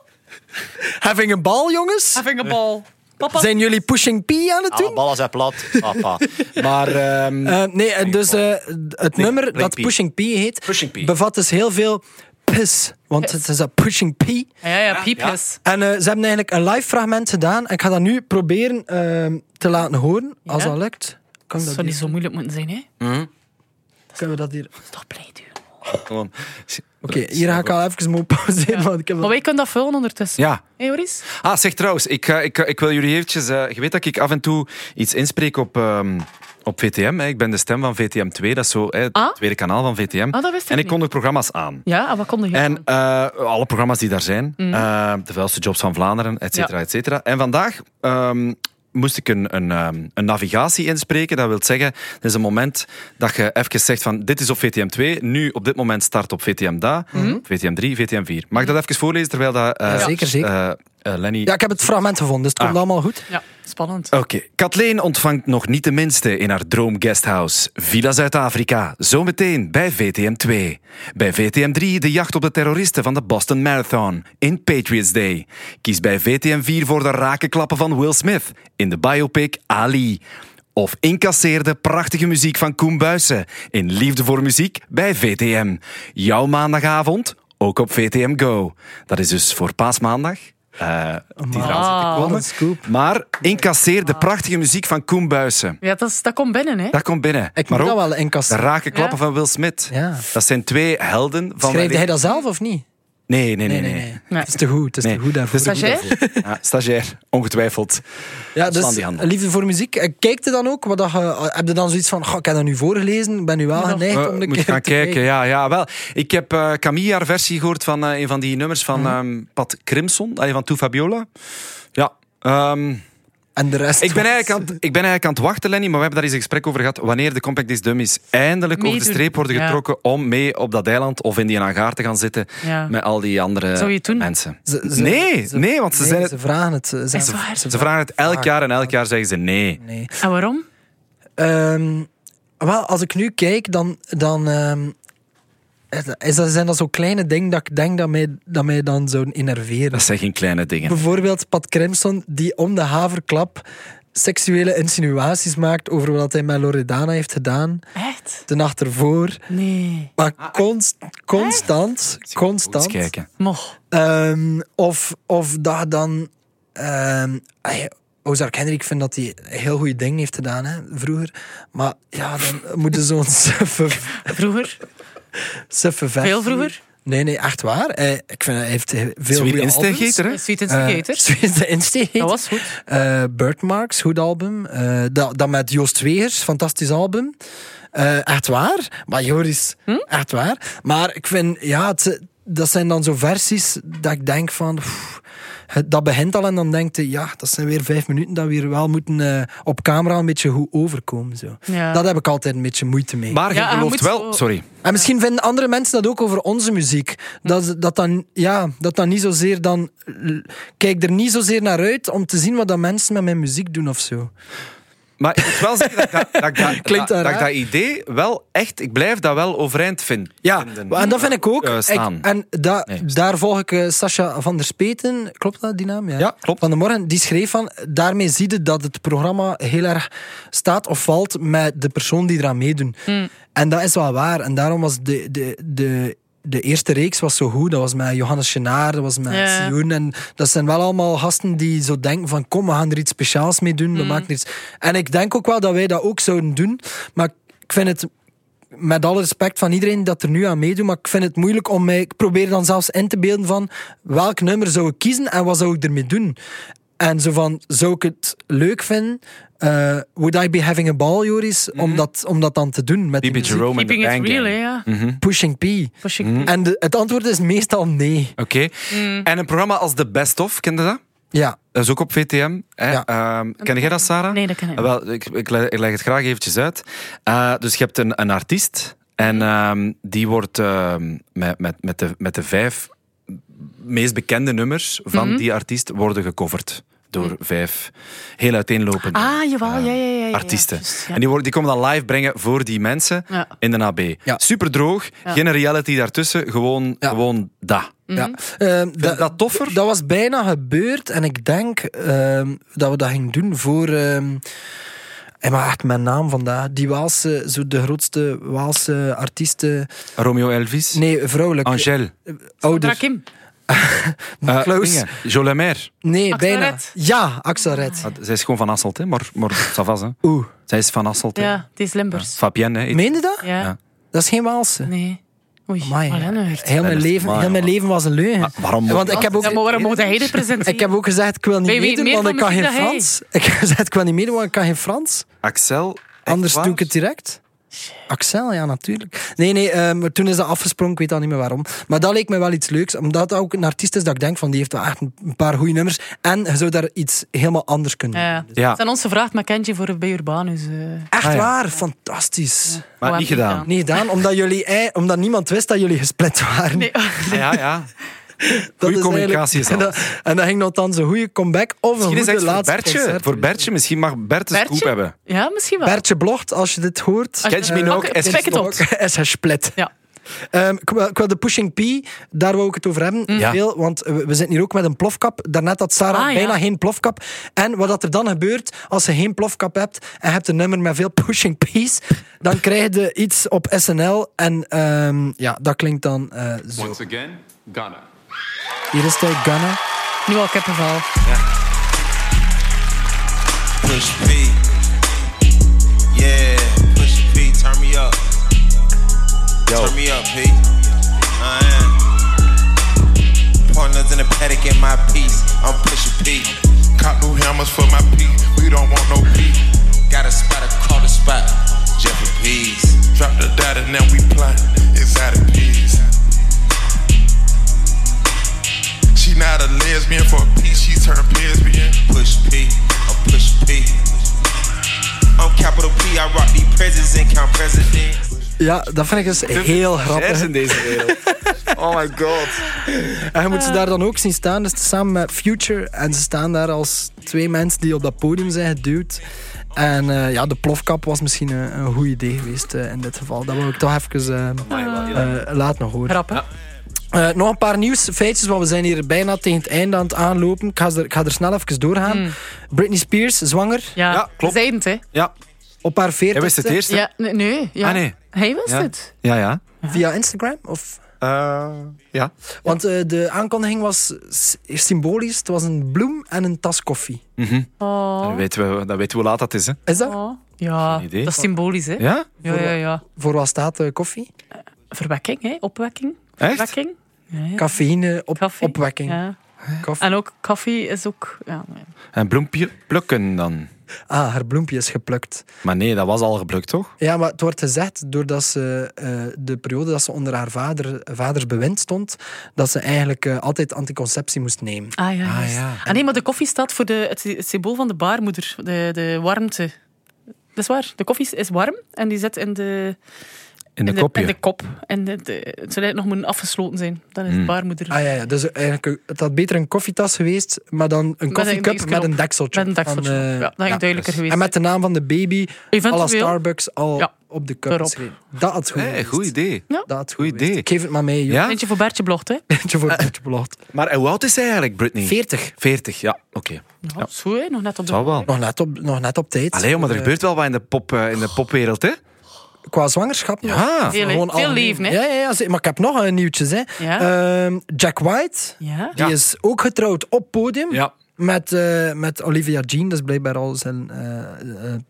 Having a ball, jongens? Having a ball. Papa, Zijn jullie pushing P aan het Alle doen? ballen zijn plat. Papa. Maar ehm, Eh, nee, en dus eh, het nummer dat P. Pushing P heet, Pushing P. bevat dus heel veel piss. Want het is dat Pushing P. Ja, ja, piepjes. En eh, ze hebben eigenlijk een live fragment gedaan. En ik ga dat nu proberen ehm, te laten horen, als Ja. dat lukt. Dat Kan dat zou hier? niet zo moeilijk moeten zijn, hè? Kunnen we dat hier... Oké, Toch blij, duur. gewoon. hier ga ik al even moeten pauzeren, want ik heb... Maar wij kunnen dat vullen ondertussen. Ja. Hé, Joris? Ah, zeg trouwens, ik, ga- ik, ik wil jullie eventjes... eh, je weet dat ik af en toe iets inspreek op, ehm, op VTM. Hè. Ik ben de stem van VTM 2, dat is zo, hè, het Ah? tweede kanaal van VTM. Ah, dat wist ik en ik niet. kondig programma's aan. Ja, en wat kon je En eh, alle programma's die daar zijn, eh, de vuilste jobs van Vlaanderen, et cetera, Ja. et cetera. En vandaag ehm, moest ik een, een, ehm, een navigatie inspreken. Dat wil zeggen, het is een moment dat je even zegt van dit is op VTM 2, nu op dit moment start op VTM da, Mhm. VTM 3, VTM 4. Mag ik dat even voorlezen terwijl dat... eh, Ja, zeker, zeker. eh, eh, Lenny... Ja, ik heb het fragment gevonden, dus het komt Ah. allemaal goed. Ja, spannend. Oké. Kathleen ontvangt nog niet de minste in haar droomguesthouse. Villa Zuid-Afrika, zometeen bij VTM 2. Bij VTM 3 de jacht op de terroristen van de Boston Marathon in Patriots Day. Kies bij VTM 4 voor de rake klappen van Will Smith in de biopic Ali. Of incasseer de prachtige muziek van Koen Buijsen in Liefde voor Muziek bij VTM. Jouw maandagavond, ook op VTM Go. Dat is dus voor paasmaandag. eh, die eraan Ah. zit te komen. Wat een scoop. Maar incasseer de prachtige muziek van Koen Buijsen. Ja, dat, is- dat komt binnen, hè. Dat komt binnen. Ik maar moet ook dat wel de inkassen. rake klappen Ja. van Will Smith. Ja. Dat zijn twee helden van... Schrijfde mijn- hij dat zelf of niet? Nee, nee, nee. Nee, nee, nee, nee. Nee. Het is te goed, het is Nee, te goed daarvoor. het is te goed Stagiair? daarvoor. Ja, stagiair, ongetwijfeld. Ja, Slaan dus die handen. liefde voor muziek. Eh, Kijk je dan ook? Wat dat je, heb je dan zoiets van, goh, ik heb dat nu voorgelezen, ik ben nu wel geneigd Eh, om een moet keer gaan te kijken. Ja, ja, wel. Ik heb eh Camille haar versie gehoord van eh, een van die nummers van Mhm. ehm, Pat Crimson, allee, van Toe Fabiola. Ja. ehm, En de rest... ik, ben was- eigenlijk aan, het- ik ben eigenlijk aan het wachten, Lenny, maar we hebben daar eens een gesprek over gehad. Wanneer de Compact is Dummies eindelijk over de Meedoen. streep worden Ja. getrokken om mee op dat eiland of in die hangaar te gaan zitten Ja. met al die andere Zou je het doen? mensen. Ze- ze- nee, ze- nee, want ze, nee, zijn het, ze vragen het. Ze, zijn- Is waar? ze- ze vragen het elk jaar en elk jaar zeggen ze nee. Nee. En waarom? Ehm, wel, als ik nu kijk, dan, dan ehm, is dat, zijn dat zo kleine dingen dat ik denk dat mij, dat mij dan zou innerveren. Dat zijn geen kleine dingen. Bijvoorbeeld Pat Crimson, die om de haverklap seksuele insinuaties maakt over wat hij met Loredana heeft gedaan. Echt? De nacht ervoor. Nee. Maar Ah. const- constant, Eens constant. kijken. Moch. Ehm, of, of dat dan... ehm ay, Ozark Hendrik vindt dat hij heel goede dingen heeft gedaan, hè, vroeger. Maar ja, dan [laughs] moeten zo'n suffe, Vroeger? suffe versie... Veel vroeger? Nee, nee, echt waar. Hij, ik vind, hij heeft heel veel Sweet goede albums. Instigator, hè? Sweet and Gator. Eh, [laughs] Sweet de Instigator. dat was goed. Eh, Birdmarks, goed album. Eh, dat, dat met Joost Wegers, fantastisch album. Eh, echt waar. Maar Joris, echt waar. Maar ik vind, ja, het- dat zijn dan zo versies dat ik denk van... pff, het- dat begint al en dan denkt je, ja, dat zijn weer vijf minuten dat we hier wel moeten eh, op camera een beetje goed overkomen. Zo. Ja. Dat heb ik altijd een beetje moeite mee. Maar Ja, je je gelooft moet wel... zo- Sorry. En misschien vinden andere mensen dat ook over onze muziek. Dat dat, dan, ja, dat dan niet zozeer dan... Kijk er niet zozeer naar uit om te zien wat dat mensen met mijn muziek doen of zo. Maar ik [laughs] moet wel zeggen dat ik dat, dat, ik dat, dat, Klinkt dat dat ik raar? dat idee wel echt... Ik blijf dat wel overeind vind, Ja, vinden. en dat vind ik ook. Eh, Ik- staan. en da- Nee. daar volg ik eh, Sascha van der Speten. Klopt dat, die naam? Ja, Ja, klopt. Van de morgen. Die schreef van, daarmee zie je dat het programma heel erg staat of valt met de persoon die eraan meedoet. En dat is wel waar. En daarom was de... de, de de eerste reeks was zo goed. Dat was met Johannes Genaar, dat was met Ja. Sioen. En dat zijn wel allemaal gasten die zo denken van... Kom, we gaan er iets speciaals mee doen. We maken er iets... En ik denk ook wel dat wij dat ook zouden doen. Maar ik vind het met alle respect van iedereen dat er nu aan meedoet, maar ik vind het moeilijk om mij... Ik probeer dan zelfs in te beelden van welk nummer zou ik kiezen en wat zou ik ermee doen. En zo van, zou ik het leuk vinden? eh, would I be having a ball, Joris? om, dat, om dat dan te doen met die Keep it muziek? Jerome in the Keeping it Bang real, hè, Gang. ja. Pushing P. Pushing P. En de- het antwoord is meestal nee. Oké. Mm. En een programma als The Best Of, kende dat? Ja. Dat is ook op VTM. Hè? Ja. Ehm, ken jij dat, Sarah? Ah, Nee, dat ken ik niet. Wel, ik, ik, leg, ik leg het graag eventjes uit. Eh, dus je hebt een, een artiest Mhm. en ehm, die wordt ehm, met, met, met, de, met de vijf meest bekende nummers van Mhm. die artiest worden gecoverd door vijf heel uiteenlopende Ah, jawel, ehm, ja, ja, ja, ja, ja, artiesten. juist, ja. En die, worden, die komen dan live brengen voor die mensen Ja. in de AB. Ja. Super droog, geen reality daartussen, gewoon, Ja. gewoon dat. Mhm. Ja. Ehm, je dat toffer? Dat was bijna gebeurd en ik denk ehm, dat we dat gingen doen voor. ehm, en maar echt mijn naam vandaag. Die Waalse, zo de grootste Waalse artiesten. Romeo Elvis, Nee, vrouwelijk. Angèle, Dra Ouder. Kim. eh, Close. dingen, Jolemaire. Nee, Axel bijna. Red. Ja, Axel Red. Ah, Zij is gewoon van Asselt, hè? maar, maar ça va, hè. Oeh. Zij is van Asselt. hè. Ja, die is Limburgs. Fabienne, hè. Iets- Meende dat? Ja. Ja. Dat is geen Waalse. Nee. Oei, nou Amai. Alain Heurt. Heel mijn, Lennart, leven, maar, heel mijn maar. leven was een leugen. Maar Ah, waarom moet Want je ik heb Ja, ook. maar waarom moet hij dit presenteren? Ik heb ook gezegd, ik wil niet Ben je meedoen, meer want van ik kan geen muziek dan hij? Frans. Ik heb gezegd, ik wil niet meedoen, want ik kan geen Frans. Axel. echt Anders waar? doe ik het direct. Axel, ja, natuurlijk. Nee, nee, eh, maar toen is dat afgesprongen, ik weet al niet meer waarom. Maar dat leek me wel iets leuks, omdat dat ook een artiest is dat ik denk van, die heeft wel echt een paar goede nummers. En je zou daar iets helemaal anders kunnen doen. Ja. Ja. Ze zijn ons gevraagd met Kentje voor bij Urbanus. eh. Echt Ah, ja. waar, fantastisch. Maar Wat niet Oh, heb ik gedaan. gedaan? Nee, gedaan, omdat, jullie, ei- omdat niemand wist dat jullie gesplit waren. Nee. Ah, Ja, ja. [laughs] dat goeie is eigenlijk- communicatie is [laughs] en dat, en dat ging nogthans een goede comeback of een Misschien is goede het echt voor laatste Bertje. concert. Voor Bertje, misschien mag Bert een Bertje? scoop hebben. Ja, misschien wel. Bertje blogt, als je dit hoort. Als je Catch dat- me now, Oké, catch Spek Ah, het op. [laughs] Is hij split. Ja. Ehm, ik, wil, ik wil de Pushing P, daar wou ik het over hebben. Ja. Veel, want we we zitten hier ook met een plofkap. Daarnet had Sarah Ah, ja. bijna geen plofkap. En wat dat er dan gebeurt, als je geen plofkap hebt en je hebt een nummer met veel [laughs] Pushing P's, dan krijg je iets op SNL. En ehm, ja, dat klinkt dan eh, zo. Once again, Ghana. Hier is de Ghana. Nu al kippenvel. Push P. Yeah, push P, turn me up. Turn me up, P. I am. Partners in the paddock in my piece. I'm pushing P. Cop new hammers for my pee. We don't want no pee. Got a spot, I call the spot. Jeffrey P's. Drop the data, now we plot. It's out of peas. She not a lesbian for a piece. She turned lesbian. Push P, I'm push P. I'm capital P, I rock these presidents and count presidents. Ja, dat vind ik dus heel grappig. is in deze [laughs] wereld. Oh my god. En je moet ze daar dan ook zien staan. Dus samen met Future. En ze staan daar als twee mensen die op dat podium zijn geduwd. En eh, ja, de plofkap was misschien een, een goed idee geweest eh, in dit geval. Dat wil ik toch even Ah, eh eh, laten horen. Grappig. Eh, nog een paar nieuwsfeitjes, want we zijn hier bijna tegen het einde aan het aanlopen. Ik ga er, ik ga er snel even doorgaan. Britney Spears, zwanger, Ja, Ja, klopt. Zij het, hè? Ja, op haar jij wist 40 het eerst. hè? Ja, nee. nee, ja. Ah, nee. Hij wist Ja. het. Ja, ja. via Instagram? Of? Eh, ja. Want eh, de aankondiging was s- symbolisch. Het was een bloem en een tas koffie. Oh. Dan weten, we, dan weten we hoe laat dat is, hè? Is dat? Oh. Ja, Geen idee. dat is symbolisch, hè? Ja? ja, ja. ja. Voor wat staat de koffie? Verwekking, hè? Opwekking. Echt? Verwekking. Ja, ja. Cafeïne, op, Koffie. opwekking. Ja. Koffie. En ook koffie is ook... Ja, nee. En bloempje plukken dan. Ah, haar bloempje is geplukt. Maar nee, dat was al geplukt, toch? Ja, maar het wordt gezegd doordat ze eh, de periode dat ze onder haar vader, vaders bewind stond, dat ze eigenlijk eh, altijd anticonceptie moest nemen. Ah ja. juist. ja. Ah, nee, maar de koffie staat voor de, het, het symbool van de baarmoeder. De, de warmte. Dat is waar. De koffie is warm en die zit in de, In de in kopje. in de kop. En de, de, het zou eigenlijk nog moeten afgesloten zijn. Dat is de baarmoeder. Ah ja, ja, dus eigenlijk, het had beter een koffietas geweest, maar dan een koffiecup dingetje met op. een dekseltje. Met een Van, dakseltje. eh, ja, dat is duidelijker geweest. En met de naam van de baby, à la Eventueel. Starbucks, al Ja, op de cup erop. geschreven. Dat had goed Hey, geweest. Eh, goed idee. Dat had goed Goed geweest. idee. Ik geef het maar mee, joh. Ja? Eentje voor Bertje Blocht, hè? [laughs] Eentje voor het blad. Maar en hoe oud is hij eigenlijk, Britney? 40. 40, ja. Oké. Ja. Zo, hè? Nog net op de... Zou wel. Nog net op, nog net op tijd. Allee, joh, maar er Eh, gebeurt wel wat in de, pop, eh, in de popwereld, hè? Qua zwangerschap nog. Ja. Heel, hè? Gewoon Veel algemeen. leven, hè? Ja, ja, ja, ze- maar ik heb nog een nieuwtjes. Hè. Ja. Ehm, Jack White, Ja. die Ja. is ook getrouwd op podium. Ja. Met, eh, met Olivia Jean, dat is blijkbaar al zijn eh, eh,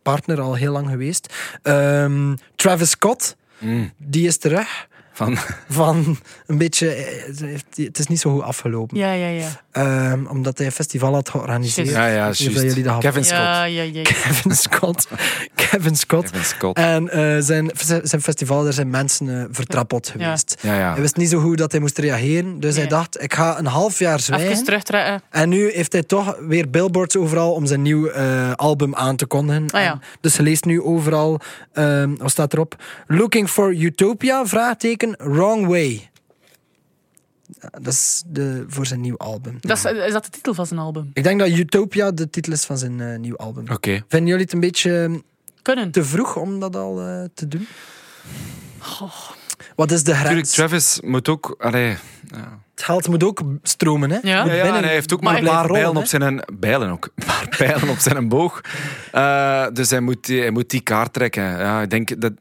partner al heel lang geweest. Ehm, Travis Scott, Mm. die is terug Van, van een beetje... eh, ze heeft- Het is niet zo goed afgelopen. Ja, ja, ja. Ehm, omdat hij een festival had georganiseerd. ja, ja, Ik weet niet of dat juist. jullie dat hadden. Kevin Scott. Ja, ja, ja. [laughs] Kevin [laughs] Scott. Kevin Scott. Kevin Scott. En eh, zijn, zijn festival, daar zijn mensen eh, vertrappeld Ja. geweest. Ja, ja. Hij wist niet zo goed dat hij moest reageren. Dus hij Nee. dacht, ik ga een half jaar Even zwijgen. terugtrekken. En nu heeft hij toch weer billboards overal om zijn nieuw eh, album aan te kondigen. Ah, ja. En dus hij leest nu overal, ehm, wat staat erop? Looking for Utopia? Vraagteken, wrong way. Ja, Dat is de, voor zijn nieuw album. Dat is, is dat de titel van zijn album? Ik denk dat Utopia de titel is van zijn eh, nieuw album. Oké. Vinden jullie het een beetje ehm, Kunnen. te vroeg om dat al eh, te doen? Wat is de Natuurlijk, grens? Travis moet ook... Allee, Het geld moet ook stromen, hè? Ja. Moet Ja, ja, binnen. en hij heeft ook Maar maar, ik- maar rollen, pijlen op hè? zijn bijlen ook, [laughs] maar pijlen op zijn boog. Eh, dus hij moet, die- hij moet die kaart trekken. Ja, ik denk dat,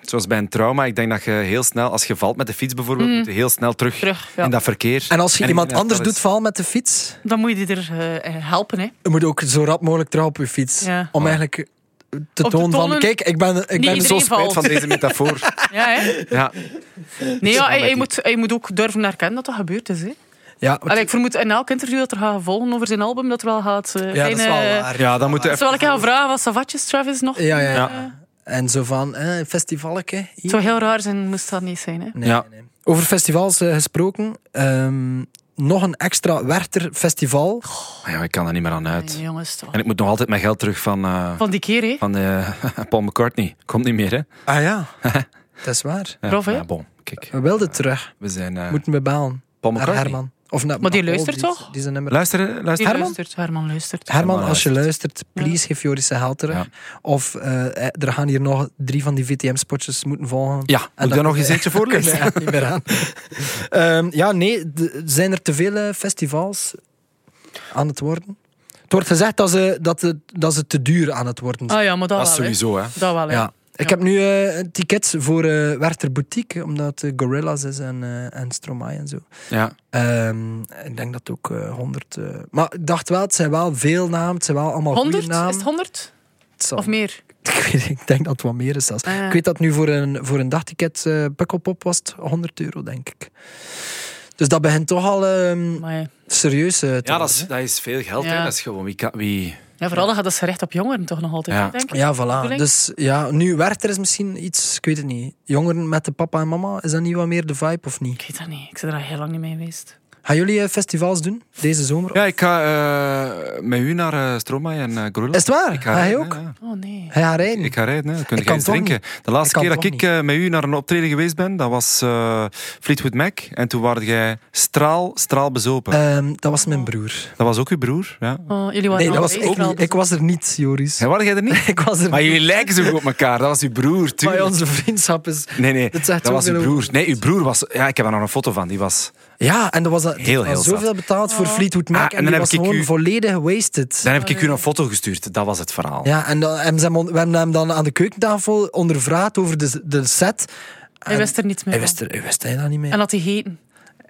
zoals bij een trauma, ik denk dat je heel snel, als je valt met de fiets bijvoorbeeld, moet je heel snel terug, Mm. Terug, ja. in dat verkeer. En als je ik iemand denk dat anders dat doet is- val met de fiets, Dan moet je die er eh, eh, helpen, hè? je moet ook zo rap mogelijk terug op je fiets. Ja. Om eigenlijk te Op te tonen van, tonen, kijk, ik ben... Ik ben iedereen zo Zo spijt valt. van deze [laughs] metafoor. Ja, hè? ja. Nee, ja, hij, met hij die- moet, hij moet ook durven herkennen dat dat gebeurd is. Hè. ja, wat- Allee, ik vermoed in elk interview dat er gaat gevolgen over zijn album, dat er wel gaat... eh, ja, dat is wel kleine- waar. ja, dan moet je even... Terwijl ik ga vragen, wat savatjes Travis nog? Ja, ja, ja. Ja. En zo van, eh, festivalke. hier. Het zou heel raar zijn, moest dat niet zijn. Hè. Nee, Ja. nee, nee. Over festivals eh, gesproken. ehm, nog een extra Werther festival. Ah, Ja, ik kan er niet meer aan uit. Nee, jongens, toch. En ik moet nog altijd mijn geld terug van, eh, Van die keer, hè? van eh, [laughs] Paul McCartney. Komt niet meer, hè? Ah ja. [laughs] dat is waar. Ja, Prof, hè? ja, bon, kijk. We wilden terug. We zijn eh, Moeten we bellen. Paul Naar McCartney. Herman. eh, Of naar Maar die naar Paul, luistert die- toch? Die zijn nummer. Luister, Die luister. luistert, Herman luistert. Herman, Herman als je luistert, please geef Joris de Hel terug. Ja. Of eh, er gaan hier nog drie van die VTM-spotjes moeten volgen. Ja, moet ik En dan- daar [laughs] nog eens eentje voor Kunnen we lezen? echt niet meer [laughs] aan. Ehm, ja, nee, de- zijn er te veel eh, festivals aan het worden? Het wordt gezegd dat ze, dat, het, dat ze te duur aan het worden zijn. Ah ja, maar dat, Dat is wel, hè. sowieso, hè. Dat wel, hè. ja. Ik heb nu eh, een ticket voor eh, Werther Boutique, omdat eh, Gorillaz is en, eh, en Stromae en zo. Ja. Ehm, ik denk dat ook eh 100. eh, maar ik dacht wel, het zijn wel veel namen, het zijn wel allemaal goede 100? namen. Is het 100? Het zal- Of meer? [laughs] ik, weet, ik denk dat het wat meer is zelfs. Ah, ja. Ik weet dat nu voor een, voor een dagticket eh Pukkelpop was het 100 euro, denk ik. Dus dat begint toch al ehm, Maar ja. serieus eh, te Ja, dat worden, is, dat is veel geld. Ja. hè. Dat is gewoon wie... kan- wie... Ja, vooral dat gaat dat recht op jongeren toch nog altijd, Ja. hè, denk hè. ik. Ja, bedoeling? voilà. Dus ja, nu Werther is misschien iets, ik weet het niet. Jongeren met de papa en mama, is dat niet wat meer de vibe of niet? Ik weet dat niet. Ik ben er al heel lang niet mee geweest. Gaan jullie eh, festivals doen deze zomer? Ja, ik ga eh, met u naar eh, Stromae en eh Gorillaz. Is het waar? Ik Ga jij rijden, ook? ja. Oh nee. Hij gaat rijden. Ik ga rijden, hè. kun Ik je kan eens toch drinken. De laatste Ik keer kan dat toch ik eh, met u naar een optreden geweest ben, dat was eh, Fleetwood Mac. En toen waren jij straal, straal bezopen. Ehm, dat was mijn broer. dat was ook uw broer, ja. Oh, jullie waren Nee, dat al was bezig ik al. niet. Ik was er niet, Joris. En waren jij er niet? [laughs] Ik was er Maar niet. jullie lijken zo goed op elkaar. Dat was uw broer, Maar tuurlijk. onze vriendschap is... Nee, nee, Dat dat, zegt was uw zoveel broer. over- Nee, uw broer was... Ja, ik heb daar nog een foto van. Die was... Ja, en er was, dat- er Heel, was heel zoveel zat. betaald voor Fleetwood Mac. Ah, en en, dan die heb was ik gewoon u- volledig wasted. Dan heb ik u een foto gestuurd. Dat was het verhaal. Ah, Ja, en dan, en ze hebben on- we hebben hem dan aan de keukentafel ondervraagd over de, de set. Hij wist er niets meer Hij van. wist, er, hij wist hij dat niet meer. En had hij heten.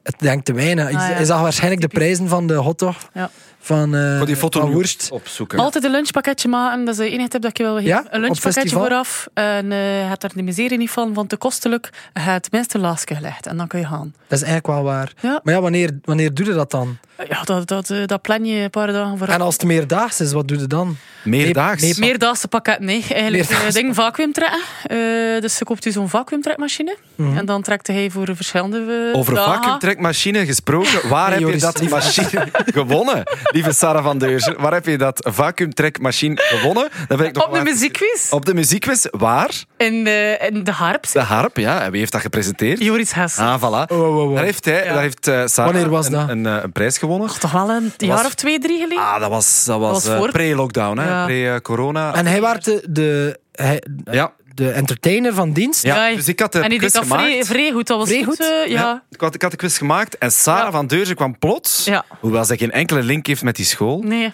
Het denkt te weinig. ja. Hij zag waarschijnlijk de prijzen van de hotdog Ja. van, eh Ik ga die foto Oh. van nu Woerst. opzoeken. Altijd een lunchpakketje maken, dat is de enige tip dat ik je wil geven. Ja, op een lunchpakketje festival. vooraf. En eh had er de miserie niet van, want te kostelijk. Je hebt het minste laatste gelegd en dan kun je gaan. Dat is eigenlijk wel waar. Ja. Maar ja, wanneer, wanneer doe je dat dan? Ja, dat, dat, eh, dat plan je een paar dagen vooraf. En als het meerdaags is, wat doe je dan? Meerdaags. Nee, nee, Meerdaagse pakket, nee. Eigenlijk Meerdaagse eh, ding vacuüm trekken. Eh, dus ze koopt u zo'n vacuümtrekmachine. En dan trekt hij voor verschillende eh, Mhm. Over dagen. vacuümtrekmachine gesproken, waar heb je Joris, dat lieve- machine [laughs] gewonnen? Lieve Sarah van Deurzen, waar heb je dat vacuümtrekmachine gewonnen? Dat ben ik nog Op de maar- muziekquiz. Op de muziekquiz, waar? In, eh, in de harp. De harp, ja. En wie heeft dat gepresenteerd? Joris Hess. Ah, voilà. wow, wow. Daar heeft, hij, Ja. daar heeft eh, Sarah oh, Wanneer was een, dat? Een, eh, een prijs gewonnen. Toch wel een jaar of twee, drie geleden. Ah, dat was, dat was, was eh, voor- pre-lockdown, hè? Ja. pre-corona. En hij was de, de, hij- Ja. de entertainer van dienst. Ja, dus ik had de en die quiz deed dat vrij, gemaakt. vrij goed. Dat was Vrij goed. goed? eh, Ja, ja. ik, had, ik had de quiz gemaakt en Sarah Ja. van Deurzen kwam plots, Ja. hoewel zij geen enkele link heeft met die school. Nee.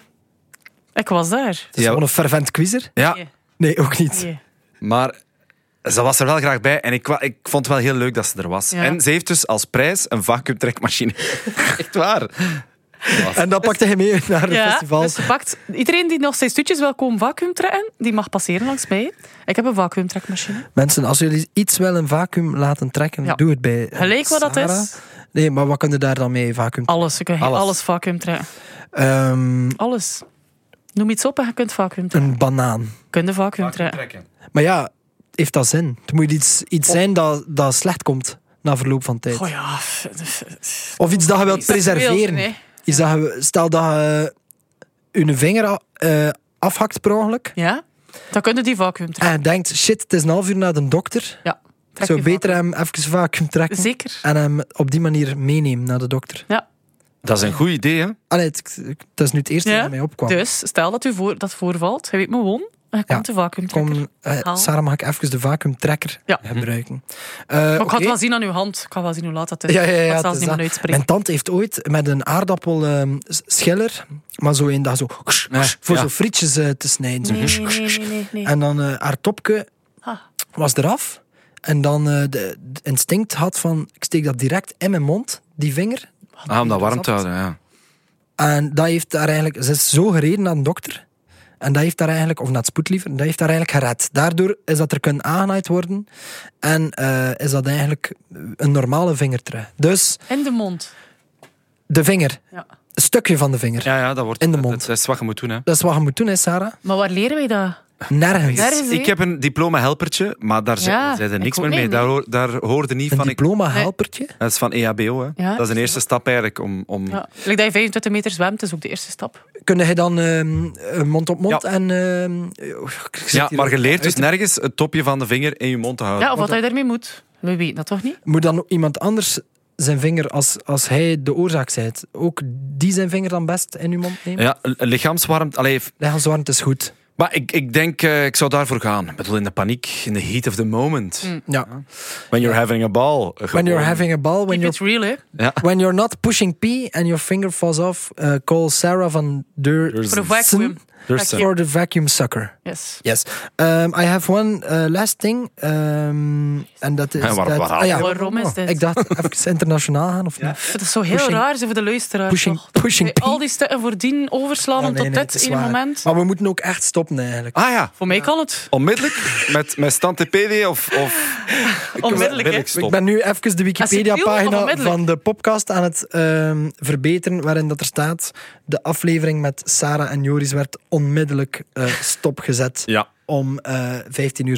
Ik was daar. Het is Ja. gewoon een fervent quizzer. Ja, Nee. Nee, ook niet. Nee. Maar ze was er wel graag bij en ik, wa- ik vond het wel heel leuk dat ze er was. Ja. En ze heeft dus als prijs een vacuümtrekmachine. [laughs] Echt waar. En dat pakte hij mee naar de Ja, festivals. dus ze pakt, iedereen die nog steeds toetjes wil komen vacuüm trekken, die mag passeren langs mij. Ik heb een vacuümtrekmachine. Mensen, als jullie iets wel een vacuüm laten trekken, Ja. doe het bij eh, Gelijk wat dat Sarah. is. Nee, maar wat kun je daar dan mee vacuüm? Alles. Je kunt Alles. alles, vacuüm trekken. Ehm, Alles. Noem iets op en je kunt vacuüm trekken. een banaan. Kun je vacuüm trekken. Maar ja, heeft dat zin? Het moet iets, iets zijn dat, dat slecht komt na verloop van tijd. Oh ja. f- f- f- Of iets dat je wilt Iets dat je preserveren. wilt, nee. Is dat je- stel dat je je vinger eh, afhakt per ongeluk Ja? Dan kun je die vacuüm trekken. en je denkt, shit, het is een half uur naar de dokter. Ja. Ik Trek zou die beter vacuüm. hem even vacuüm trekken Zeker. en hem op die manier meenemen naar de dokter. Ja. Dat is een goed idee, hè? Allee, het, het- dat is nu het eerste Ja, dat mij opkwam. Dus stel dat u voor, dat voorvalt, je weet me woon, en je Ja, komt de vacuümtrekker. Kom, eh, Haal. Sarah, mag ik even de vacuümtrekker Ja. Mhm. gebruiken? Eh, Maar ik oké. had wel zien aan uw hand. Ik had wel zien hoe laat dat is. Ja, ja, ja, ik had het zelfs is niet meer dat. uitspreken. Mijn tante heeft ooit met een aardappel ehm, s- schiller, maar zo één dag zo, voor ja. zo frietjes eh, te snijden. zo. Nee, nee, nee, nee, nee, nee. En dan eh, haar topje Ah. was eraf. En dan eh de, de instinct had van, ik steek dat direct in mijn mond, die vinger. Ah, om dat warm te houden, ja. En dat heeft daar eigenlijk, ze is zo gereden naar de dokter. En dat heeft daar eigenlijk, of naar het spoed liever, dat heeft daar eigenlijk gered. Daardoor is dat er kunnen aangenaaid worden. En eh, is dat eigenlijk een normale vingertrui. Dus In de mond. de vinger, Ja. een stukje van de vinger. Ja, ja, dat wordt... In de mond. Dat, dat is wat je moet doen, hè. Dat is wat je moet doen, hè, Sarah. Maar waar leren wij dat? Nergens. Nergens. hè? Ik heb een diploma-helpertje, maar daar ze- Ja, zeiden ik niks ook meer mee. niet. Daar, hoor- daar hoorde niet Een van... Ik, diploma-helpertje. dat is van E EHBO, hè. Ja. dat is een eerste stap eigenlijk om... om Ja. Like dat je 25 meter zwemt, is ook de eerste stap. Kun je dan ehm, eh, mond op mond Ja. en... ehm, ik zit Ja, hier maar je al- leert dus uit- nergens het topje van de vinger in je mond te houden. Ja, of wat je daarmee moet. We weten dat toch niet? Moet dan iemand anders zijn vinger als, als hij de oorzaak zijt. Ook die zijn vinger dan best in uw mond nemen. Ja, lichaamswarmte. Allee, Lichaamswarmte is goed. maar ik, ik denk, eh, ik zou daarvoor gaan. Ik bedoel, in de paniek, in the heat of the moment. Mm. Ja. When you're having a ball. eh, When you're gewoon. having a ball, when Keep you're, it real, hè. Ja. [laughs] when you're not pushing pee and your finger falls off, eh, call Sarah van Deur Voor de vacuum. There's a- for the vacuum sucker. Yes. Yes. Um, I have one uh, last thing. Um, en dat is. En waar- dat, waar haal ah, ja. je- Waarom is dit? Ik dacht even internationaal gaan of niet. Het is zo heel Pushing- raar, ze voor de luisteraar. pushing- toch. pushing Bij Al P. die stukken voordien overslaan Ja, om Oh, nee, tot nee, het dit is ene waar. moment. Maar we moeten ook echt stoppen eigenlijk. Ah ja, Voor mij kan het. onmiddellijk met, met stand TPD of, of Onmiddellijk, hè. Ik stop. ben nu even de Als je wil, Wikipedia-pagina onmiddellijk. van de podcast aan het ehm, verbeteren, waarin dat er staat de aflevering met Sarah en Joris werd onmiddellijk eh, stopgezet [laughs] Ja. om eh 15.26 uur.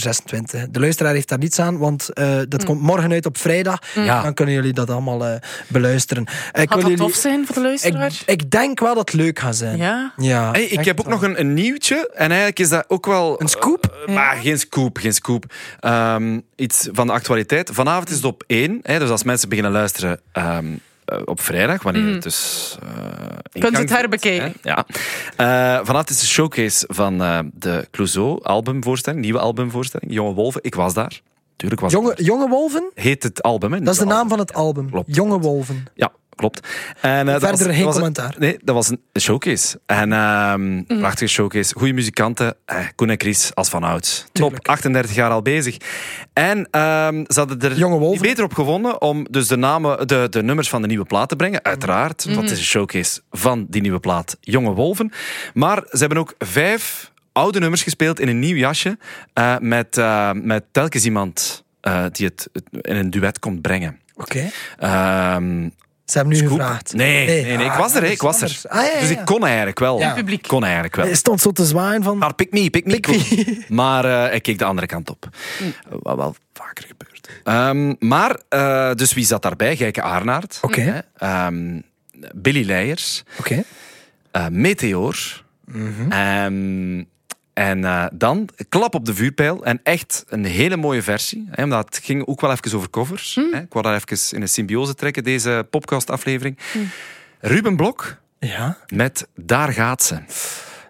De luisteraar heeft daar niets aan, want eh, Mm. dat komt morgen uit op vrijdag. Ja. Dan kunnen jullie dat allemaal eh, beluisteren. Eh, Ik Gaat wil Mm. dat jullie, tof zijn voor de luisteraar? Ik, ik denk wel dat het leuk gaat zijn. Ja. Ja, Hey, ik echt heb ook wel. nog een, een nieuwtje. En eigenlijk is dat ook wel... Een scoop? Eh, maar geen scoop, geen scoop. Ehm, iets van de actualiteit. Vanavond is het op één. Hè, dus als mensen beginnen luisteren ehm, eh, op vrijdag, wanneer het dus... eh, in Mhm. Kunt gang het zit, herbekijken. hè, Ja. Eh, vanavond is de showcase van eh, de Clouseau albumvoorstelling, nieuwe albumvoorstelling. Jonge Wolven, ik was daar. Tuurlijk was ik Jonge, jonge Wolven? daar. Heet het album, hè? Dat is de Nieuwe naam album. van het album. klopt. Jonge Wolven. Ja, klopt. En, eh, dat Verder was- geen dat was een- commentaar. Mhm. nee, dat was een showcase. En ehm, prachtige showcase. Goede muzikanten. Eh, Koen en Chris als van ouds. Top. Tuurlijk. 38 jaar al bezig. En ehm, ze hadden er Jonge wolven. niet beter op gewonnen om dus de, namen, de, de nummers van de nieuwe plaat te brengen. Uiteraard. Mhm. want Dat is een showcase van die nieuwe plaat Jonge Wolven. Maar ze hebben ook vijf oude nummers gespeeld in een nieuw jasje. eh, met, eh, met telkens iemand eh, die het het in een duet komt brengen. Oké. Ehm, Ze hebben nu Scoop? gevraagd. Nee, nee, nee, ik ah, was er, hè, dat ik is was er. anders. Ah, ja, ja, Dus ja. ik kon eigenlijk wel. Ja. Publiek. Kon eigenlijk wel. Hij stond zo te zwaaien van... Maar pick me, pick me. Pick me. Hm. kon. [laughs] Maar eh, ik keek de andere kant op. Wat wel vaker gebeurt. Ehm, maar, eh, dus wie zat daarbij? Gijke Arnaert. Oké. Hè? Ehm, Billy Leijers. Oké. eh, Meteor. Mhm. Ehm, en eh, dan klap op de vuurpijl. En echt een hele mooie versie. Hè, omdat het ging ook wel even over covers. Hm. Hè. Ik wou daar even in een symbiose trekken, deze podcast-aflevering. Hm. Ruben Blok Ja. met Daar gaat ze.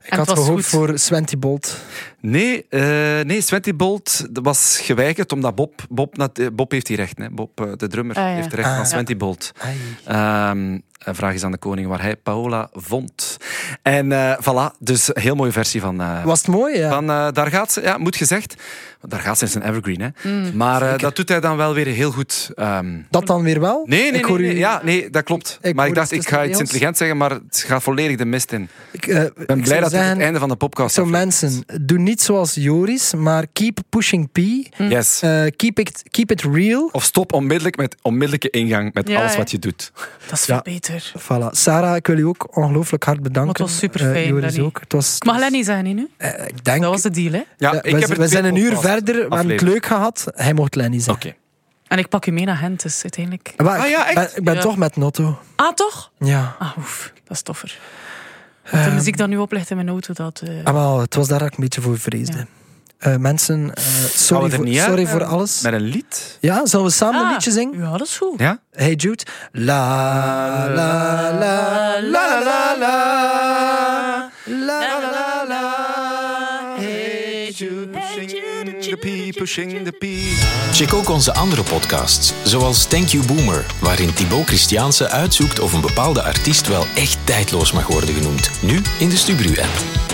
Ik En had het was gehoopt goed. voor Swenti Bolt. Nee, eh nee Swenti Bolt was geweigerd omdat Bob... Bob, nat- eh, Bob heeft die recht, hè. Bob, eh, de drummer, Ah, ja. heeft de recht aan Ah. Swenti Bolt. Ai. Ehm, een vraag is aan de koning waar hij Paola vond. En eh voilà, dus een heel mooie versie van... eh, Was het mooi, ja. van eh, daar gaat ze, ja, moet gezegd. Daar gaat ze in zijn evergreen, hè. Mm. maar eh, dat doet hij dan wel weer heel goed. ehm, Dat dan weer wel? Nee, nee, ik hoor nee, nee, u, ja, nee, dat klopt. ik maar ik hoor dacht, het ik tussen ga de iets regels. intelligent zeggen, maar het gaat volledig de mist in. Ik, eh, ik Ik ben blij zou dat dit zeggen, het einde van de podcast Zo aflevering mensen, doe niet zoals Joris, maar keep pushing P. is. Yes. Eh, keep, it, keep it real. Of stop onmiddellijk met onmiddellijke ingang met Ja, alles hè. wat je doet. Dat is Ja. veel beter. Voilà. Sarah, ik wil u ook ongelooflijk hard bedanken. Maar het was superfijn, Eh, Joris Lenny. ook. Het was, Ik mag Lenny zeggen, hè, nu. eh, ik denk, Dat was de deal, hè. Ja, Ja, ik we heb z- er we twee zijn een uur podcasts verder, we hebben het afleveringen. leuk gehad. Hij mocht Lenny zijn. Oké. En ik pak je mee naar Hentes, uiteindelijk. Maar ik Ah, ja, echt? ben, ik ben Ja. toch met Notto. Ah, toch? Ja. Ah, oef. Dat is toffer. Met Ehm. de muziek dan nu oplegt in mijn auto, dat... eh, Ah, wel, het was daar dat ik een beetje voor vreesde. Ja. Eh, mensen, eh, Gaan we sorry, het er voor, niet sorry uit- voor alles. Met een lied? Ja, zullen we samen ah, een liedje zingen? Ja, dat is goed. Ja? Hey Jude. La, la, la, la, la, la. La, la, la, la. Hey, The pea, pushing the pea. Check ook onze andere podcasts, zoals Thank You Boomer, waarin Thibaut Christiaanse uitzoekt of een bepaalde artiest wel echt tijdloos mag worden genoemd. Nu in de Stubru-app.